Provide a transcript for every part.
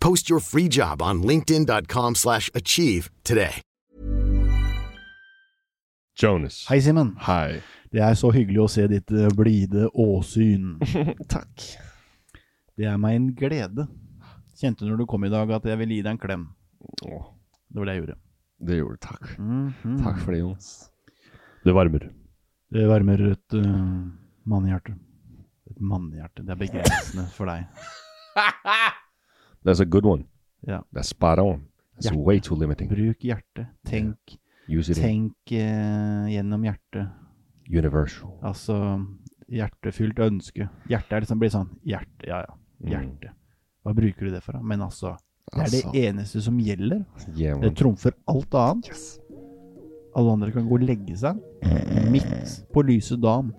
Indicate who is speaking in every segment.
Speaker 1: Post your free job on linkedin.com/achieve slash achieve today.
Speaker 2: Jonas.
Speaker 3: Hei, Simen.
Speaker 2: Hei.
Speaker 3: Det er så hyggelig å se ditt eh, blide åsyn.
Speaker 2: Takk.
Speaker 3: Det er meg en glede. Kjente når du kom i dag at jeg ville gi deg en klem.
Speaker 2: Åh,
Speaker 3: Det var det jeg gjorde.
Speaker 2: det gjorde du. Takk. Takk for det, Jonas. Det varmer.
Speaker 3: Det varmer et eh, mannehjerte. Et mannehjerte. Det er begrensende for deg.
Speaker 2: That's a good one.
Speaker 3: Ja.
Speaker 2: That's spot on. That's
Speaker 3: Hjerte.
Speaker 2: way too limiting.
Speaker 3: Bruk hjertet. Tenk,
Speaker 2: Use it in
Speaker 3: tenk eh, gjennom hjertet.
Speaker 2: universal.
Speaker 3: Altså hjertefylt ønske. Hjertet er liksom blir sånn Hjerte, ja ja. Hjerte. Hva bruker du det for, da? Men altså, det er
Speaker 2: Altså.
Speaker 3: det eneste som gjelder.
Speaker 2: Yeah,
Speaker 3: Det
Speaker 2: man.
Speaker 3: trumfer alt annet. Alle andre kan gå og legge seg. Midt på lyse dagen.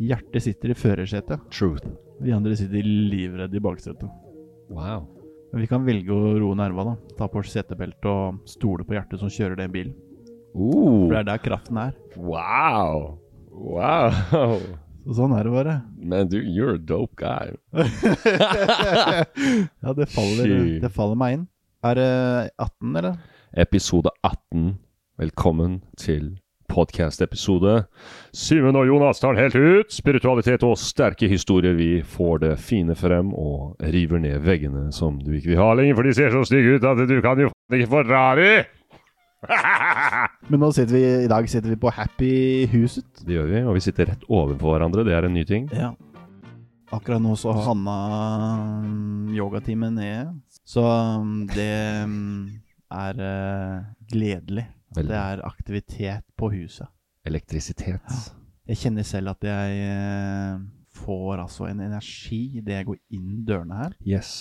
Speaker 3: Hjertet sitter i førersetet.
Speaker 2: Truth.
Speaker 3: Vi andre sitter livredde i baksetet.
Speaker 2: Wow.
Speaker 3: Men vi kan velge å roe nerva, da. Ta på oss setebelte og stole på hjertet som kjører den bilen. For det
Speaker 2: Ooh.
Speaker 3: er der kraften er.
Speaker 2: Wow. Wow.
Speaker 3: Så sånn er det bare.
Speaker 2: Man, dude, you're a dope guy.
Speaker 3: Ja, det faller,
Speaker 2: Shit.
Speaker 3: det faller meg inn. Er det 18, eller?
Speaker 2: Episode 18. Velkommen til podcast-episode. Simen og Jonas tar den helt ut. Spiritualitet og sterke historier. Vi får det fine frem og river ned veggene som du ikke vil ha lenger, for de ser så stygge ut at du kan jo faen ikke Ferrari!
Speaker 3: Men nå sitter vi, i dag sitter vi på Happy-huset.
Speaker 2: Det gjør vi, og vi sitter rett overfor hverandre. Det er en ny ting.
Speaker 3: Ja. Akkurat nå så har Hanna mm, yogatime nede. Så mm, det mm, er eh, gledelig. At
Speaker 2: Veldig.
Speaker 3: det er aktivitet på huset.
Speaker 2: Elektrisitet.
Speaker 3: Jeg kjenner selv at jeg eh, får altså en energi idet jeg går inn dørene her.
Speaker 2: Yes.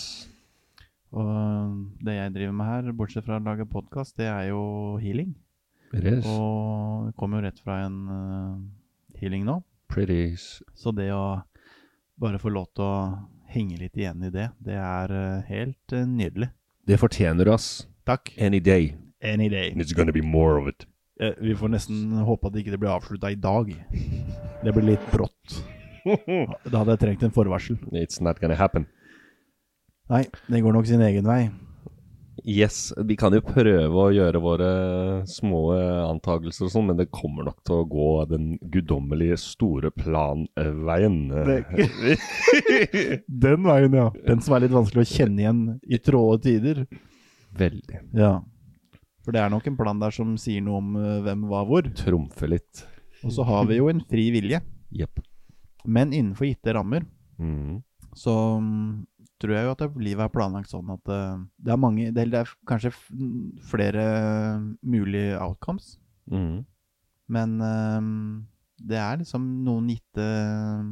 Speaker 3: Og mm, det jeg driver med her, bortsett fra å lage podkast, det er jo healing.
Speaker 2: It is
Speaker 3: Og det kommer jo rett fra en eh, healing nå.
Speaker 2: pretty s-
Speaker 3: Så det å bare få lov til å henge litt igjen i det, det er eh, helt eh, nydelig.
Speaker 2: Det fortjener du, ass.
Speaker 3: Takk.
Speaker 2: Any day.
Speaker 3: Any day.
Speaker 2: And it's gonna be more of it.
Speaker 3: Eh, vi får nesten håpe at ikke det blir avslutta i dag. Det blir litt brått. Da hadde jeg trengt en forvarsel.
Speaker 2: It's not gonna happen.
Speaker 3: Nei, det går nok sin egen vei.
Speaker 2: Yes, vi kan jo prøve å gjøre våre små antakelser og sånn, men det kommer nok til å gå den guddommelige store planveien.
Speaker 3: Den veien, ja. Den som er litt vanskelig å kjenne igjen i tråde tider.
Speaker 2: Veldig.
Speaker 3: Ja. For det er nok en plan der som sier noe om eh, hvem, hva, hvor.
Speaker 2: Trumfe litt.
Speaker 3: Og så har vi jo en fri vilje.
Speaker 2: Jepp.
Speaker 3: Men innenfor gitte rammer
Speaker 2: Mm.
Speaker 3: så mm, tror jeg jo at det- livet er planlagt sånn at eh, det er mange Det er, det er kanskje f- mm, flere mulige outcomes,
Speaker 2: Mm.
Speaker 3: men eh, det er liksom noen gitte mm,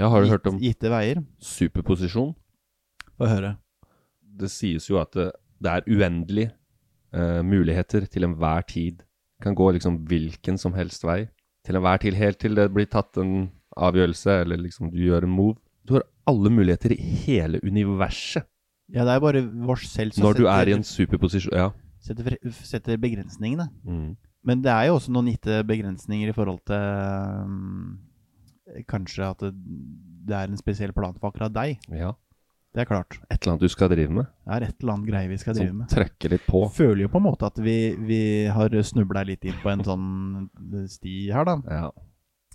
Speaker 2: Ja, har du hørt om
Speaker 3: gitte veier.
Speaker 2: superposisjon?
Speaker 3: Få høre.
Speaker 2: Det sies jo at det, det er uendelig eh, muligheter til enhver tid. Kan gå liksom hvilken som helst vei. Til enhver tid, helt til det blir tatt en avgjørelse, eller liksom du gjør en move. Du har alle muligheter i hele universet.
Speaker 3: Ja, det er bare vårs selv som
Speaker 2: Når du
Speaker 3: setter,
Speaker 2: er i en superposisjon Ja. Mm.
Speaker 3: setter, fre- setter begrensningene. Men det er jo også noen gitte begrensninger i forhold til um, Kanskje at det, det er en spesiell plan for akkurat deg.
Speaker 2: Ja.
Speaker 3: Det er klart.
Speaker 2: Et eller annet du skal drive med,
Speaker 3: Det er et eller annet greie vi skal drive
Speaker 2: som
Speaker 3: med.
Speaker 2: trekker litt på.
Speaker 3: Føler jo på en måte at vi, vi har snubla litt inn på en sånn sti her, da.
Speaker 2: Ja.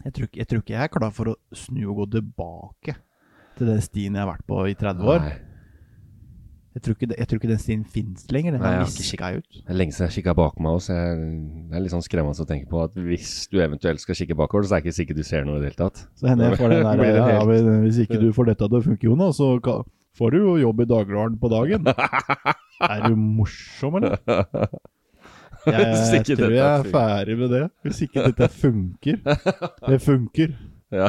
Speaker 3: Jeg tror, ikke- jeg tror ikke jeg er klar for å snu og gå tilbake til den stien jeg har vært på i 30 år.
Speaker 2: Nei.
Speaker 3: Jeg tror ikke, det- jeg tror ikke den stien finnes lenger. Den
Speaker 2: Nei, jeg
Speaker 3: har
Speaker 2: har
Speaker 3: visket seg ut.
Speaker 2: Det er lenge siden jeg kikka bak meg også. så jeg- Det er litt sånn skremmende å tenke på at hvis du eventuelt skal kikke bakover, så er det ikke sikkert du ser noe i det hele tatt.
Speaker 3: Så hender jeg får
Speaker 2: Blir
Speaker 3: den der
Speaker 2: det
Speaker 3: ja, ja,
Speaker 2: helt-
Speaker 3: men eh, Hvis ikke du får dette til å funke, Jonas, så ka- får du jo jobb i Dagbladet på dagen. Er du morsom, eller?
Speaker 2: Hvis
Speaker 3: Jeg
Speaker 2: ikke
Speaker 3: tror
Speaker 2: dette
Speaker 3: jeg er
Speaker 2: funker.
Speaker 3: ferdig med det. Hvis ikke dette funker. Det funker.
Speaker 2: Ja.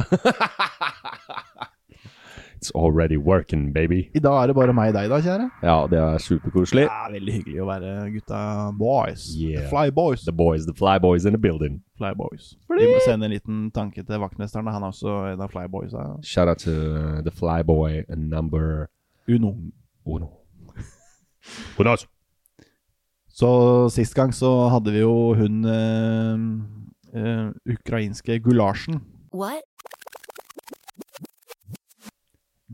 Speaker 2: It's already working, baby.
Speaker 3: I dag er det bare meg og deg, da, kjære.
Speaker 2: Ja, det er superkoselig.
Speaker 3: Det er veldig hyggelig å være gutta boys.
Speaker 2: Yeah.
Speaker 3: Fly boys.
Speaker 2: The boys, the fly boys in the building.
Speaker 3: Flyboys. Vi må sende en liten tanke til vaktmesteren. Han er også en av flyboysa.
Speaker 2: Shout out to uh, the fly boy number
Speaker 3: Uno.
Speaker 2: uno. Jonas.
Speaker 3: Så sist gang så hadde vi jo hun eh, eh, ukrainske gulasjen.
Speaker 4: What?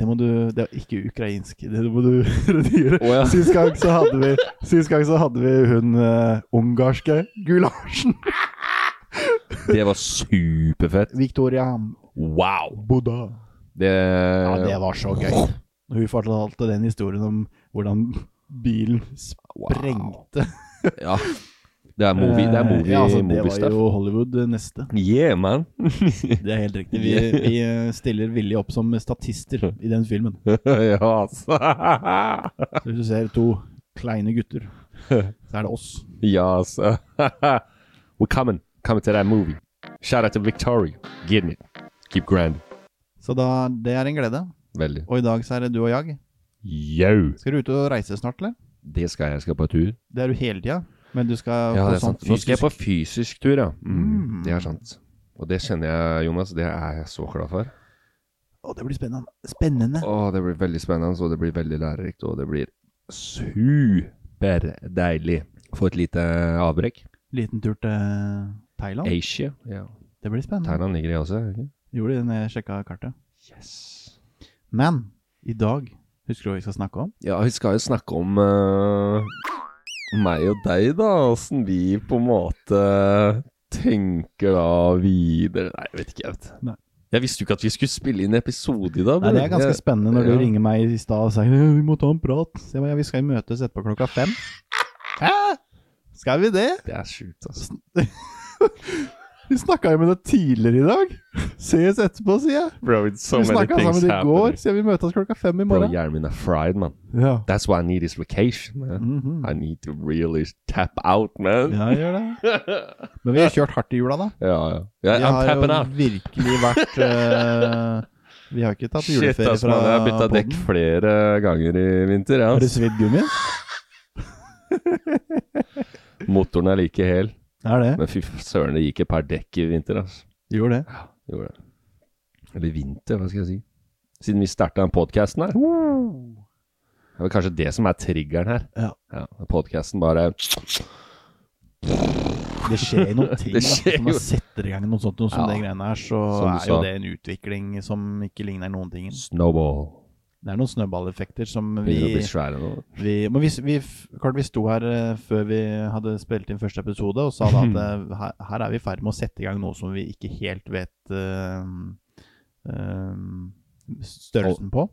Speaker 3: Det må du Det er ikke ukrainsk, det må du redigere.
Speaker 2: Å, ja.
Speaker 3: Sist gang så hadde vi Sist gang så hadde vi hun eh, ungarske gulasjen.
Speaker 2: Det var superfett.
Speaker 3: Victoria
Speaker 2: Wow.
Speaker 3: Buddha.
Speaker 2: Det,
Speaker 3: Ja, det var så gøy. Hun fortalte den historien om hvordan bilen sprengte
Speaker 2: Ja. Det er movie, Eh, det er movie,
Speaker 3: ja, altså,
Speaker 2: movie
Speaker 3: Det var
Speaker 2: stuff.
Speaker 3: jo Hollywood eh, neste.
Speaker 2: Yeah, man.
Speaker 3: Det er helt riktig. Vi, vi eh, stiller villig opp som statister i den filmen.
Speaker 2: ja, altså.
Speaker 3: Så hvis du ser to kleine gutter, så er det oss.
Speaker 2: ja, altså. We're coming. Coming to that movie. Shout out to Victoria. Getting it. Keep grand.
Speaker 3: Så da, det er en glede.
Speaker 2: Veldig.
Speaker 3: Og i dag så er det du og jeg.
Speaker 2: Yo.
Speaker 3: Skal du ut og reise snart, eller?
Speaker 2: Det skal jeg. Jeg skal på tur.
Speaker 3: Det er du hele tida. Men du skal
Speaker 2: Ja,
Speaker 3: på
Speaker 2: det er
Speaker 3: sånn
Speaker 2: sant. Nå skal jeg
Speaker 3: fysisk
Speaker 2: på fysisk tur, ja. Mm, det er sant. Og det kjenner jeg, Jonas. Det er jeg så glad for.
Speaker 3: Å, det blir spennende. Spennende.
Speaker 2: Å, det blir veldig spennende, og det blir veldig lærerikt, og det blir superdeilig. Få et lite avbrekk.
Speaker 3: Liten tur til Thailand.
Speaker 2: Asia. Ja.
Speaker 3: Det blir spennende.
Speaker 2: Thailand ligger i Asia, er det ikke?
Speaker 3: Gjorde det når jeg sjekka kartet.
Speaker 2: Yes.
Speaker 3: Men i dag Husker du hva vi skal snakke om?
Speaker 2: Ja, vi skal jo snakke om eh, meg og deg, da. Åssen vi på en måte tenker da videre Nei, jeg vet ikke, jeg vet.
Speaker 3: Nei.
Speaker 2: Jeg visste jo ikke at vi skulle spille inn episode i dag.
Speaker 3: Nei,
Speaker 2: bror.
Speaker 3: Det er ganske
Speaker 2: Jeg-
Speaker 3: spennende når du
Speaker 2: Ja.
Speaker 3: ringer meg i stad og sier «Øh, vi må ta en prat. Så jeg, bare, ja, vi skal møtes etterpå klokka fem. Hæ? Skal vi det?
Speaker 2: Det er sjukt, altså.
Speaker 3: Vi snakka jo med deg tidligere i dag. Ses etterpå, sier jeg.
Speaker 2: Bro, it's so
Speaker 3: vi snakka sammen i går, sier vi møtes klokka fem i
Speaker 2: Bro,
Speaker 3: morgen.
Speaker 2: hjernen min er fried, man.
Speaker 3: ja.
Speaker 2: That's why I need this vacation, man.
Speaker 3: Mhm.
Speaker 2: I need to really tap out, man.
Speaker 3: ja, gjør det. Men vi har kjørt hardt i jula, da.
Speaker 2: ja. ja. Ja,
Speaker 3: Vi
Speaker 2: Uh, I'm
Speaker 3: har
Speaker 2: tapping
Speaker 3: jo
Speaker 2: out.
Speaker 3: virkelig vært eh, Vi har ikke tatt
Speaker 2: Shit,
Speaker 3: juleferie
Speaker 2: ass, man. Jeg har bytta
Speaker 3: fra
Speaker 2: dekk flere ganger i vinter. Ja.
Speaker 3: Har du svidd gummien?
Speaker 2: Motoren er like hel.
Speaker 3: Det er det.
Speaker 2: Men fy søren, det gikk et par dekk i vinter, altså.
Speaker 3: Gjorde det.
Speaker 2: Det Gjorde det. Eller vinter, hva skal jeg si. Siden vi starta den podkasten her. Det er vel kanskje det som er triggeren her.
Speaker 3: Ja.
Speaker 2: Ja, podkasten bare
Speaker 3: Det skjer noen ting.
Speaker 2: Det
Speaker 3: da.
Speaker 2: skjer
Speaker 3: Når man
Speaker 2: jo.
Speaker 3: setter i gang noe sånt noe som
Speaker 2: Ja.
Speaker 3: det greiene her, så
Speaker 2: Som du
Speaker 3: er jo
Speaker 2: sa.
Speaker 3: det en utvikling som ikke ligner noen ting.
Speaker 2: Snowball.
Speaker 3: Det er noen snøballeffekter som
Speaker 2: Begynner å
Speaker 3: vi
Speaker 2: bli svære nå.
Speaker 3: Vi, men vi, vi, f- klart vi sto her eh, før vi hadde spilt inn første episode og sa da at eh, her, her er vi i ferd med å sette i gang noe som vi ikke helt vet eh, eh, størrelsen på.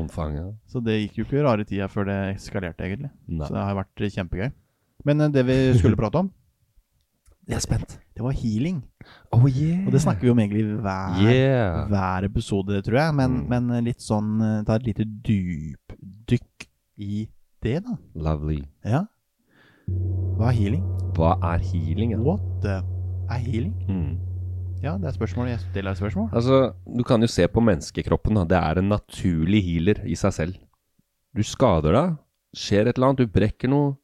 Speaker 2: Omfanget.
Speaker 3: Så det gikk jo ikke rare tida før det eskalerte, egentlig.
Speaker 2: Nei.
Speaker 3: Så det har vært kjempegøy. Men eh, det vi skulle prate om Jeg er spent. Det var healing.
Speaker 2: Oh yeah.
Speaker 3: Og det snakker vi om egentlig hver,
Speaker 2: Yeah.
Speaker 3: hver episode, tror jeg. Men, men litt sånn eh, Ta et lite dypdykk i det, da.
Speaker 2: Lovely.
Speaker 3: Ja. Hva er healing?
Speaker 2: Hva er healing? Ja?
Speaker 3: What the Er healing?
Speaker 2: Mm.
Speaker 3: Ja, det er spørsmålet. Jeg stiller et spørsmål.
Speaker 2: Altså, du kan jo se på menneskekroppen. Da. Det er en naturlig healer i seg selv. Du skader deg, skjer et eller annet, du brekker noe.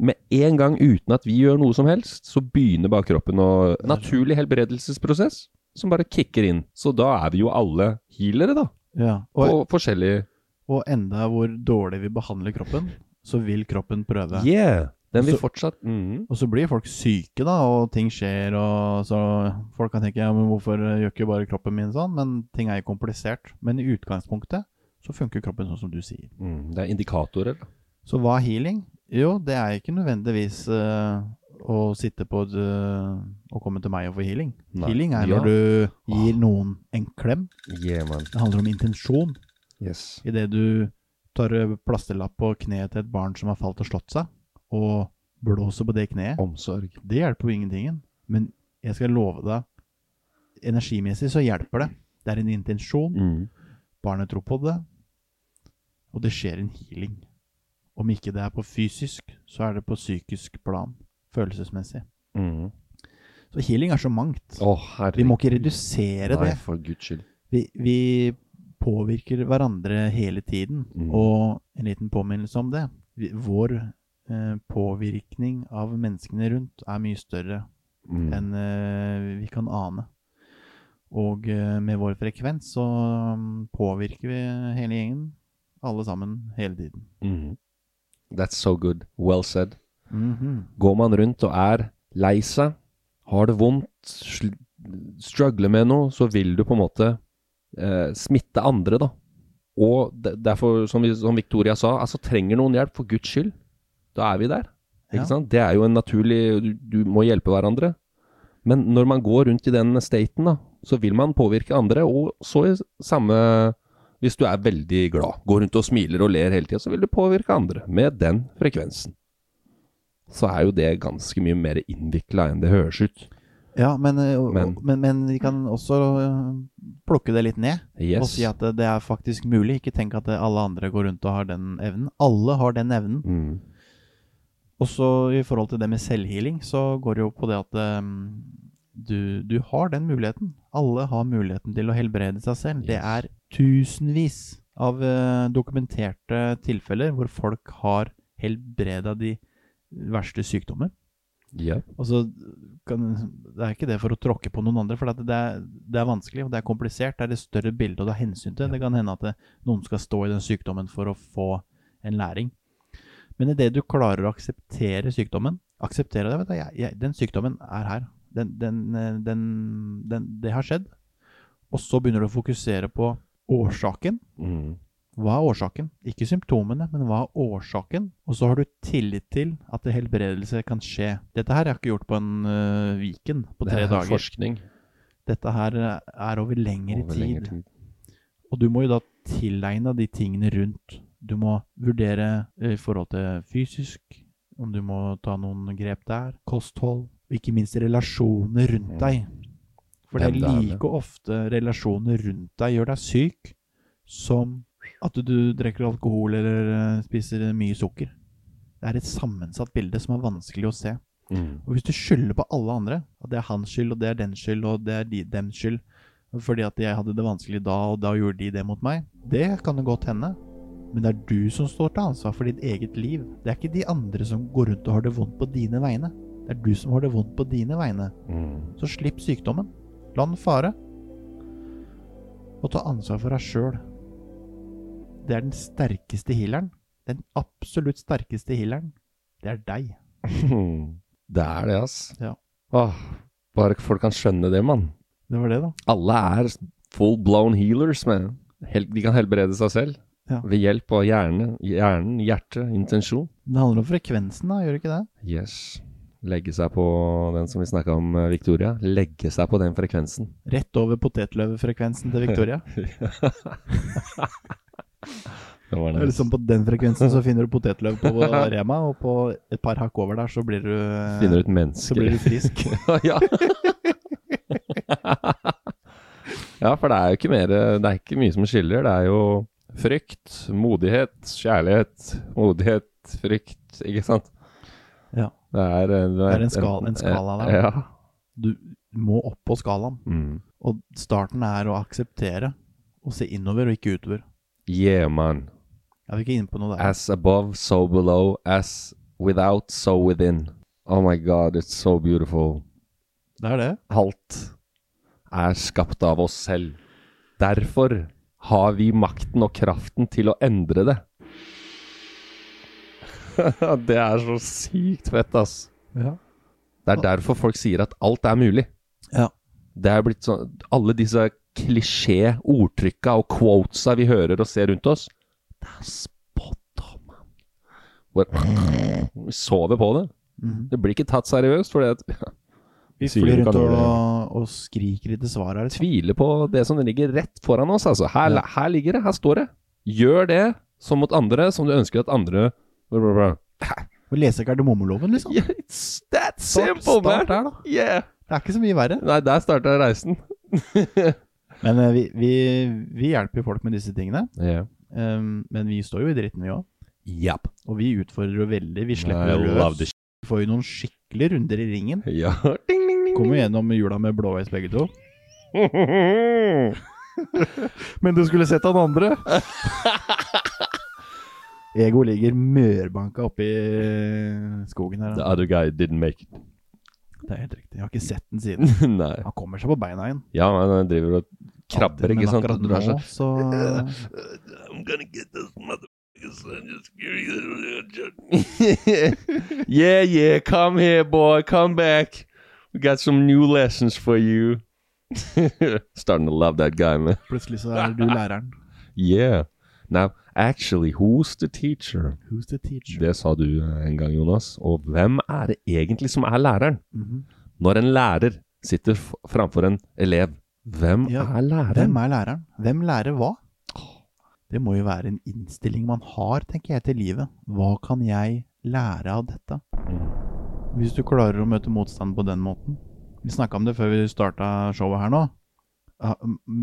Speaker 2: Med en gang uten at vi gjør noe som helst, så begynner bare kroppen å Naturlig helbredelsesprosess som bare kicker inn. Så da er vi jo alle healere, da.
Speaker 3: Ja.
Speaker 2: På
Speaker 3: Og,
Speaker 2: forskjellige
Speaker 3: og enda hvor dårlig vi behandler kroppen, så vil kroppen prøve.
Speaker 2: Yeah! Den vil
Speaker 3: Så-
Speaker 2: fortsatt mm,
Speaker 3: Og så blir folk syke, da, og ting skjer, og så Folk kan tenke ja, men hvorfor gjør ikke bare kroppen min sånn? Men ting er jo komplisert. Men i utgangspunktet så funker kroppen sånn som du sier.
Speaker 2: mm, Det er indikatorer. da.
Speaker 3: Så hva er healing? Jo, det er ikke nødvendigvis eh, å sitte på et, eh, og komme til meg og få healing.
Speaker 2: Nei.
Speaker 3: Healing er
Speaker 2: Ja.
Speaker 3: når du gir noen en klem.
Speaker 2: Yeah, man.
Speaker 3: Det handler om intensjon.
Speaker 2: Yes.
Speaker 3: Idet du tar eh, plasterlapp på kneet til et barn som har falt og slått seg, og blåser på det kneet,
Speaker 2: Omsorg.
Speaker 3: det hjelper jo ingentingen. Men jeg skal love deg, energimessig så hjelper det. Det er en intensjon.
Speaker 2: Mm.
Speaker 3: Barnet tror på det, og det skjer en healing. Om ikke det er på fysisk, så er det på psykisk plan, følelsesmessig.
Speaker 2: Mm.
Speaker 3: Så healing er så mangt.
Speaker 2: Å, herregud.
Speaker 3: Vi må ikke redusere
Speaker 2: Nei,
Speaker 3: det.
Speaker 2: for guds skyld.
Speaker 3: Vi, vi påvirker hverandre hele tiden,
Speaker 2: Mm.
Speaker 3: og en liten påminnelse om det. Vi, vår eh, påvirkning av menneskene rundt er mye større
Speaker 2: Mm.
Speaker 3: enn eh, vi kan ane. Og eh, med vår frekvens så mm, påvirker vi hele gjengen, alle sammen, hele tiden.
Speaker 2: Mm. That's so good. Well said. Går man rundt og er lei seg, har det vondt, sl struggler med noe, så vil du på en måte eh, smitte andre, da. Og de- derfor, som, vi, som Victoria sa, altså trenger noen hjelp, for Guds skyld, da er vi der. Ikke
Speaker 3: Ja.
Speaker 2: sant? Det er jo en naturlig du, du må hjelpe hverandre. Men når man går rundt i den staten, da, så vil man påvirke andre, og så i samme Hvis du er veldig glad, går rundt og smiler og ler hele tida, så vil du påvirke andre med den frekvensen så er jo det ganske mye mer innvikla enn det høres ut.
Speaker 3: Ja, men, eh, og-
Speaker 2: Men-
Speaker 3: og- men, men vi kan også eh, plukke det litt ned og
Speaker 2: Yes.
Speaker 3: si at eh, det, det er faktisk mulig. Ikke tenk at eh, alle andre går rundt og har den evnen. Alle har den evnen.
Speaker 2: Mm.
Speaker 3: Også i forhold til det med selvhealing, så går det jo på det at eh, du, du har den muligheten. Alle har muligheten til å helbrede seg selv. Det
Speaker 2: Yes.
Speaker 3: er tusenvis av eh, dokumenterte tilfeller hvor folk har helbreda de verste sykdommer.
Speaker 2: Ja.
Speaker 3: Og så kan, det er ikke det for å tråkke på noen andre, for at det, er, det er vanskelig og det er komplisert. Det er et større bilde å ta hensyn til. Det kan hende at det, noen skal stå i den sykdommen for å få en læring. Men idet du klarer å akseptere sykdommen akseptere det, vet du, jeg, jeg, Den sykdommen er her. Den, den, eh, den, den, det har skjedd. Og så begynner du å fokusere på årsaken.
Speaker 2: Mm.
Speaker 3: Hva er årsaken? Ikke symptomene, men hva er årsaken? Og så har du tillit til at helbredelse kan skje. Dette her har jeg ikke gjort på en øh, Viken på
Speaker 2: Det
Speaker 3: tre
Speaker 2: er
Speaker 3: dager.
Speaker 2: forskning
Speaker 3: Dette her er over lengre
Speaker 2: over
Speaker 3: tid.
Speaker 2: lengre tid.
Speaker 3: Og du må jo da tilegne deg de tingene rundt. Du må vurdere eh, i forhold til fysisk, om du må ta noen grep der, kosthold, og ikke minst relasjoner rundt deg. For det
Speaker 2: Mm. Hvem
Speaker 3: er
Speaker 2: det er med.
Speaker 3: like ofte relasjoner rundt deg gjør deg syk, som at du drikker alkohol eller eh, spiser mye sukker. Det er et sammensatt bilde som er vanskelig å se.
Speaker 2: Mm.
Speaker 3: Og hvis du skylder på alle andre, at det er hans skyld, og det er den skyld, og det er de, dems skyld, fordi at jeg hadde det vanskelig da, og da gjorde de det mot meg, det kan det godt hende. Men det er du som står til ansvar for ditt eget liv. Det er ikke de andre som går rundt og har det vondt på dine vegne. Det er du som har det vondt på dine vegne.
Speaker 2: Mm.
Speaker 3: Så slipp sykdommen. La den fare. Og ta ansvar for deg sjøl. Det er den sterkeste healeren. Den absolutt sterkeste healeren. Det er deg.
Speaker 2: Mm. Det er det, ass.
Speaker 3: Ja.
Speaker 2: Åh, bare folk kan skjønne det, mann.
Speaker 3: Det var det, da.
Speaker 2: Alle er full blown healers. Man. Hel de kan helbrede seg selv
Speaker 3: Ja.
Speaker 2: ved hjelp av hjerne, hjernen, hjerte, intensjon.
Speaker 3: Det handler om frekvensen, da, gjør det ikke det?
Speaker 2: Yes. Legge seg på den som vi snakka om, eh, Victoria. Legge seg på den frekvensen.
Speaker 3: Rett over potetløvfrekvensen til Victoria.
Speaker 2: Det var
Speaker 3: Det er liksom på den frekvensen så finner du potetløv på Rema, og på et par hakk over der så blir du,
Speaker 2: Finner ut
Speaker 3: så
Speaker 2: mennesker.
Speaker 3: blir du frisk.
Speaker 2: ja. ja, for det er jo ikke mer Det er ikke mye som skiller. Det er jo frykt, modighet, kjærlighet, modighet, frykt, ikke sant?
Speaker 3: Ja.
Speaker 2: Det er, eh, det
Speaker 3: Det er en skal- en skala der.
Speaker 2: Ja.
Speaker 3: Du må opp på skalaen.
Speaker 2: Mm.
Speaker 3: Og starten er å akseptere og se innover og ikke utover.
Speaker 2: Yeah, man.
Speaker 3: Jeg vil ikke inn på noe der.
Speaker 2: As above, so below. As without, so within. Oh my god, it's so beautiful.
Speaker 3: Det er det.
Speaker 2: Alt er skapt av oss selv. Derfor har vi makten og kraften til å endre det. det er så sykt fett, ass.
Speaker 3: Ja.
Speaker 2: Det er derfor folk sier at alt er mulig.
Speaker 3: Ja.
Speaker 2: Det er blitt sånn Alle disse klisjé-ordtrykka og quotesa vi hører og ser rundt oss, det er spot on, man. Bare- Vi sover på det.
Speaker 3: Mhm.
Speaker 2: Det blir ikke tatt seriøst, fordi at
Speaker 3: Vi
Speaker 5: Sier
Speaker 3: flyr
Speaker 5: du kan
Speaker 3: rundt og,
Speaker 5: gjøre
Speaker 3: og skriker etter svar her. liksom.
Speaker 2: tviler på det som ligger rett foran oss. Altså, her, her ligger det, her står det. Gjør det som mot andre, som du ønsker at andre bla, bla, bla.
Speaker 3: Og leser kardemommeloven, liksom.
Speaker 2: Yeah, it's that
Speaker 3: Start-
Speaker 2: simple,
Speaker 3: start
Speaker 2: man!
Speaker 3: der, da.
Speaker 2: Yeah.
Speaker 3: Det er ikke så mye verre.
Speaker 2: Nei, der starta reisen.
Speaker 3: Men eh, vi, vi, vi hjelper jo folk med disse tingene.
Speaker 2: Yeah.
Speaker 3: Ehm, men vi står jo i dritten, vi òg.
Speaker 2: Yep.
Speaker 3: Og vi utfordrer jo veldig. Vi slipper
Speaker 2: I
Speaker 3: jo
Speaker 2: love the
Speaker 3: løs. Vi får jo noen skikkelige runder i ringen.
Speaker 2: Ja. Ding, ding, ding.
Speaker 3: Kommer jo gjennom jula med blåveis begge to.
Speaker 2: ding.
Speaker 3: Men du skulle sett han andre! Ego ligger mørbanka oppi skogen her.
Speaker 2: The other guy didn't make it.
Speaker 3: Det er helt riktig. Jeg har ikke sett den siden.
Speaker 2: Nei.
Speaker 3: Han kommer seg på beina igjen.
Speaker 2: Ja, men han driver og krabber,
Speaker 3: Men
Speaker 2: ikke sant?
Speaker 3: akkurat
Speaker 2: Og drar
Speaker 3: nå,
Speaker 2: seg-
Speaker 3: så
Speaker 2: I'm gonna get this motherfucker's son just curious. yeah, yeah, come here, boy, come back. We got some new lessons for you. Starting to love that guy, man.
Speaker 3: plutselig så er du læreren.
Speaker 2: Yeah. Now, actually, who's the teacher?
Speaker 3: Who's the teacher?
Speaker 2: Det sa du eh, en gang, Jonas. Og hvem er det egentlig som er læreren?
Speaker 3: Mhm.
Speaker 2: Når en lærer sitter f framfor en elev, hvem
Speaker 3: Ja,
Speaker 2: er læreren?
Speaker 3: Hvem er læreren? Hvem lærer hva? Det må jo være en innstilling man har, tenker jeg, til livet. Hva kan jeg lære av dette? Hvis du klarer å møte motstand på den måten. Vi snakka om det før vi starta showet her nå. Ja,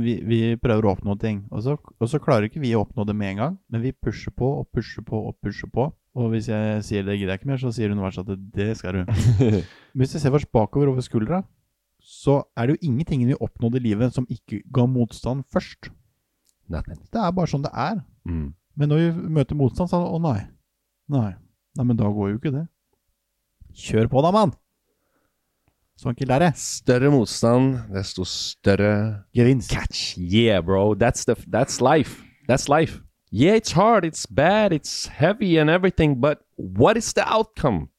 Speaker 3: Vi, vi prøver å oppnå ting, og så, og så klarer ikke vi å oppnå det med en gang. Men vi pusher på og pusher på og pusher på. Og hvis jeg sier det gidder jeg ikke mer, så sier universet at det- det skal du. Hvis vi ser oss bakover over skuldra, så er det jo ingenting vi oppnådde i livet som ikke ga motstand først.
Speaker 2: Nothing.
Speaker 3: Det er bare sånn det er.
Speaker 2: Mm.
Speaker 3: Men når vi møter motstand, så er det å nei. Nei. Nei, men da går jo ikke det. Kjør på da, mann! Sånn kill der, jeg.
Speaker 2: Større motstand, desto større
Speaker 3: Gevinst.
Speaker 2: catch. Yeah, bro. That's the that's life. That's life. Yeah, it's hard, it's bad, it's heavy and everything, but what is the outcome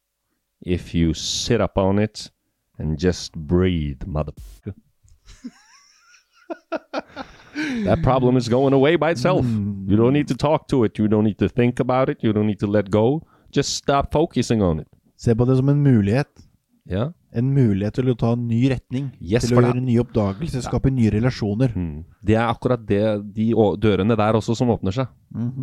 Speaker 2: if you sit up on it and just breathe, motherfucker? that problem is going away by itself. You don't need to talk to it. You don't need to think about it. You don't need to let go. Just stop focusing on it.
Speaker 3: Se på det som en mulighet.
Speaker 2: Yeah.
Speaker 3: En mulighet til å ta en ny retning.
Speaker 2: Yes,
Speaker 3: til
Speaker 2: for
Speaker 3: å
Speaker 2: det- Mm.
Speaker 3: gjøre nye oppdagelser, skape nye relasjoner.
Speaker 2: Det er akkurat det, de å- dørene der også som åpner seg.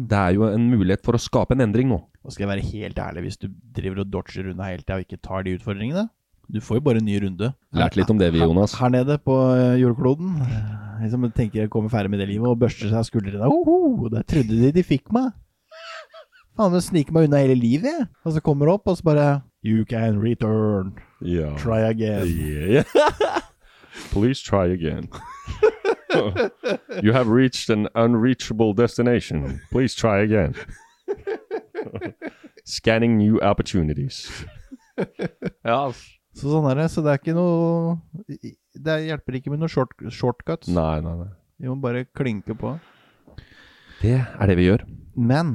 Speaker 2: Det er jo en mulighet for å skape en endring nå.
Speaker 3: Og skal jeg være helt ærlig, hvis du driver og dodger unna hele tida og ikke tar de utfordringene Du får jo bare en ny runde.
Speaker 2: Lært litt om det vi, Jonas.
Speaker 3: Her nede på eh, jordkloden eh, De som tenker jeg kommer ferdig med det livet og børster seg av skuldrene Oho, Der trodde de de fikk meg Faen, de sniker meg unna hele livet jeg. Og så kommer de opp og så bare You can return,
Speaker 5: Ja.
Speaker 3: try again
Speaker 5: Yeah. Please try again. you have reached an unreachable destination. Please try again. Scanning new opportunities.
Speaker 2: Ja.
Speaker 3: Så sånn er det, så det er ikke noe Det hjelper ikke med noen short, shortcuts
Speaker 2: Nei, nei, nei.
Speaker 3: Vi må bare klinke på
Speaker 2: Det er det vi gjør.
Speaker 3: Men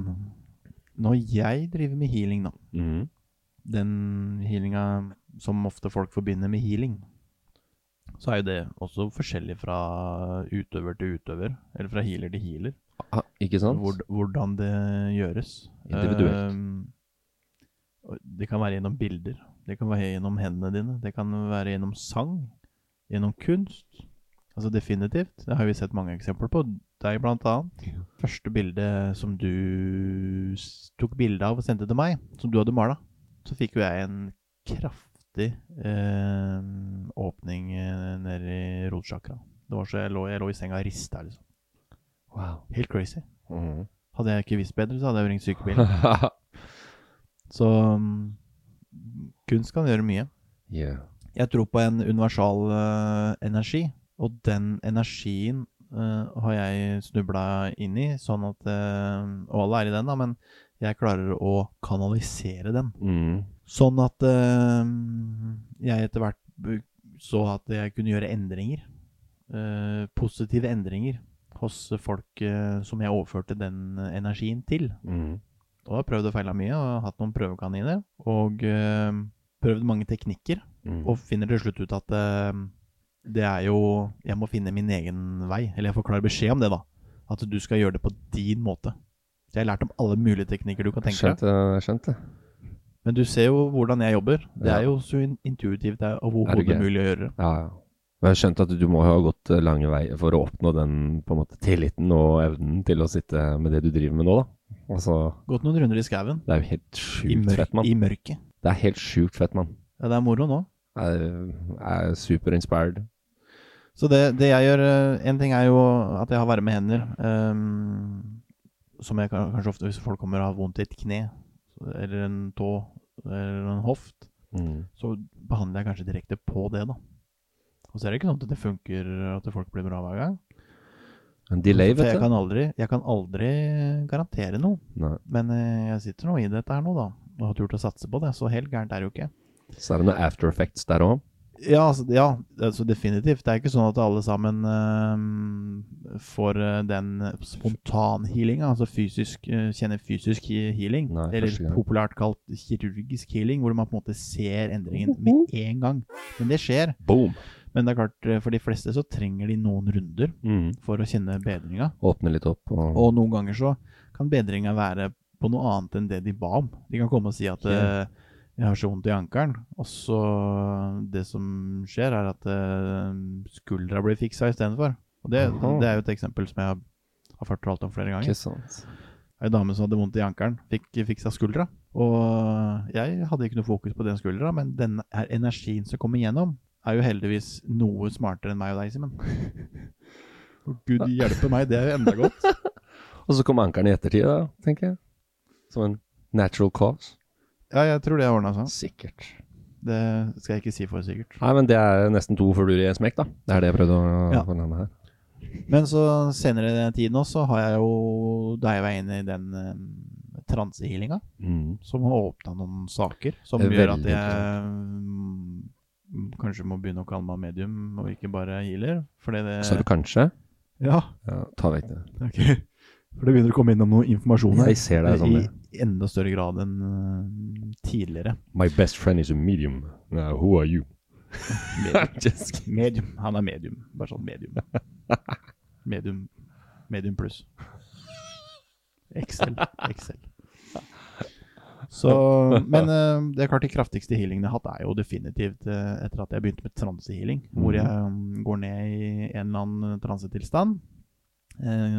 Speaker 3: Når jeg driver med healing da
Speaker 5: Mm.
Speaker 2: Mhm.
Speaker 3: den healinga som ofte folk forbinder med healing, så er jo det også forskjellig fra utøver til utøver, eller fra healer til healer,
Speaker 2: Ah, ikke sant?
Speaker 3: hvor, hvordan det gjøres.
Speaker 2: Individuelt.
Speaker 3: Ehm, og det kan være gjennom bilder, det kan være gjennom hendene dine, det kan være gjennom sang, gjennom kunst. Altså definitivt, det har vi sett mange eksempler på, deg blant annet. Første bilde som du s- tok bilde av og sendte til meg, som du hadde malet, så fikk jo jeg en kraftig eh, åpning eh, nede i rotsjakra. Det var så jeg lå, jeg lå i senga og rista, liksom.
Speaker 2: Wow.
Speaker 3: Helt crazy.
Speaker 5: Mm.
Speaker 2: Mhm.
Speaker 3: Hadde jeg ikke visst bedre, så hadde jeg jo ringt sykebil. Så mm, kunst kan gjøre mye.
Speaker 2: yeah.
Speaker 3: Jeg tror på en universal eh, energi, og den energien eh, har jeg snubla inn i, sånn at eh, Og alle er i den, da, men jeg klarer å kanalisere den.
Speaker 5: Mm.
Speaker 2: Mhm.
Speaker 3: Sånn at eh, jeg etter hvert bu- så at jeg kunne gjøre endringer. eh, positive
Speaker 5: Mm.
Speaker 3: endringer hos folk eh, som jeg overførte den energien til.
Speaker 2: Mhm.
Speaker 3: og har prøvd og feila mye og hatt noen prøvekaniner. Og eh, prøvd mange teknikker,
Speaker 5: Mm.
Speaker 3: og finner til slutt ut at eh, det er jo Jeg må finne min egen vei. Eller jeg får klar beskjed om det, da. At du skal gjøre det på din måte. Så jeg har lært om alle mulige teknikker du kan tenke deg.
Speaker 2: Skjønt det. jeg Skjønt det.
Speaker 3: Men du ser jo hvordan jeg jobber. Det
Speaker 2: Ja.
Speaker 3: er jo så in- intuitivt det er
Speaker 2: Er du
Speaker 3: overhodet
Speaker 2: gæren?
Speaker 3: mulig å gjøre.
Speaker 2: Ja, ja. Men jeg har skjønt at du må ha gått eh, lange veier for å oppnå den på en måte, tilliten og evnen til å sitte med det du driver med nå, da. Altså,
Speaker 3: Gått noen runder i skauen.
Speaker 2: det er jo helt
Speaker 3: I,
Speaker 2: sjukt
Speaker 3: mør
Speaker 2: fett, mann.
Speaker 3: I mørket.
Speaker 2: Det er helt sjukt fett, mann.
Speaker 3: Ja, det er moro nå.
Speaker 2: Jeg jeg er super inspired.
Speaker 3: Så det, det jeg gjør eh, En ting er jo at jeg har varme hender. ehm, som jeg kan, kanskje ofte, hvis folk kommer og har vondt i et kne eller en tå eller en hoft,
Speaker 2: Mm.
Speaker 3: så behandler jeg kanskje direkte på det, da. Og så er det ikke sånn at det funker at folk blir bra hver gang.
Speaker 2: En delay,
Speaker 3: For
Speaker 2: vet du.
Speaker 3: jeg kan aldri, jeg kan aldri garantere noe.
Speaker 2: Nei.
Speaker 3: Men eh, jeg sitter nå i dette her nå, da. Og har turt å satse på det. Så helt gærent er det jo ikke.
Speaker 2: Så er det noen after effects der òg.
Speaker 3: Ja, altså, ja altså definitivt. Det er ikke sånn at alle sammen eh, får eh, den spontanhealinga, altså fysisk, eh, kjenner fysisk he- healing.
Speaker 2: Nei, første
Speaker 3: eller
Speaker 2: gang.
Speaker 3: populært kalt kirurgisk healing, hvor man på en måte ser endringen med en gang. Men det skjer.
Speaker 2: Boom!
Speaker 3: Men det er klart, eh, for de fleste så trenger de noen runder for å kjenne bedringa.
Speaker 2: Mm. Åpne litt opp. Og,
Speaker 3: Og noen ganger så kan bedringa være på noe annet enn det de ba om. De kan komme og si at eh, jeg har så vondt i ankelen, og så det som skjer, er at eh, skuldra blir fiksa istedenfor. Og det,
Speaker 2: Aha.
Speaker 3: det er jo et eksempel som jeg har, har fortalt om flere ganger.
Speaker 2: ikke sant.
Speaker 3: Ei dame som hadde vondt i ankelen, fikk fiksa skuldra. Og jeg hadde ikke noe fokus på den skuldra, men den her energien som kommer gjennom, er jo heldigvis noe smartere enn meg og deg, Simen. Å, Gud hjelpe meg, det er jo enda godt.
Speaker 2: Og så kom ankeren i ettertid, da, tenker jeg. Som en natural cause.
Speaker 3: Ja, jeg tror det altså. ordna seg.
Speaker 2: Sikkert.
Speaker 3: Det skal jeg ikke si for sikkert.
Speaker 2: Nei, men det er nesten to fluer i en smekk, da. Det er det jeg prøvde å
Speaker 3: Ja.
Speaker 2: få denne her.
Speaker 3: Men så senere i den tiden også, så har jeg jo deiva inn i den eh, transehealinga,
Speaker 2: Mm.
Speaker 3: som har åpna noen saker som
Speaker 2: Det er
Speaker 3: gjør at
Speaker 2: veldig
Speaker 3: jeg mm, kanskje må begynne å kalle meg medium, og ikke bare healer. Fordi det
Speaker 2: Eh. Så er det kanskje
Speaker 3: Ja,
Speaker 2: ja, Ta vekk det.
Speaker 3: ok. For det begynner å komme innom noe informasjon her.
Speaker 2: Jeg ser deg som
Speaker 3: I
Speaker 2: det.
Speaker 3: enda større grad enn eh, tidligere.
Speaker 2: My best friend is a medium. Now, who are you? Just kidding.
Speaker 3: Medium. Han er medium. Bare sånn medium. Medium Medium pluss. Excel. Excel. Så, men eh, det er klart de kraftigste healingene jeg har hatt, er jo definitivt eh, etter at jeg begynte med transehealing. Hvor jeg mm, går ned i en eller annen transetilstand. Eh,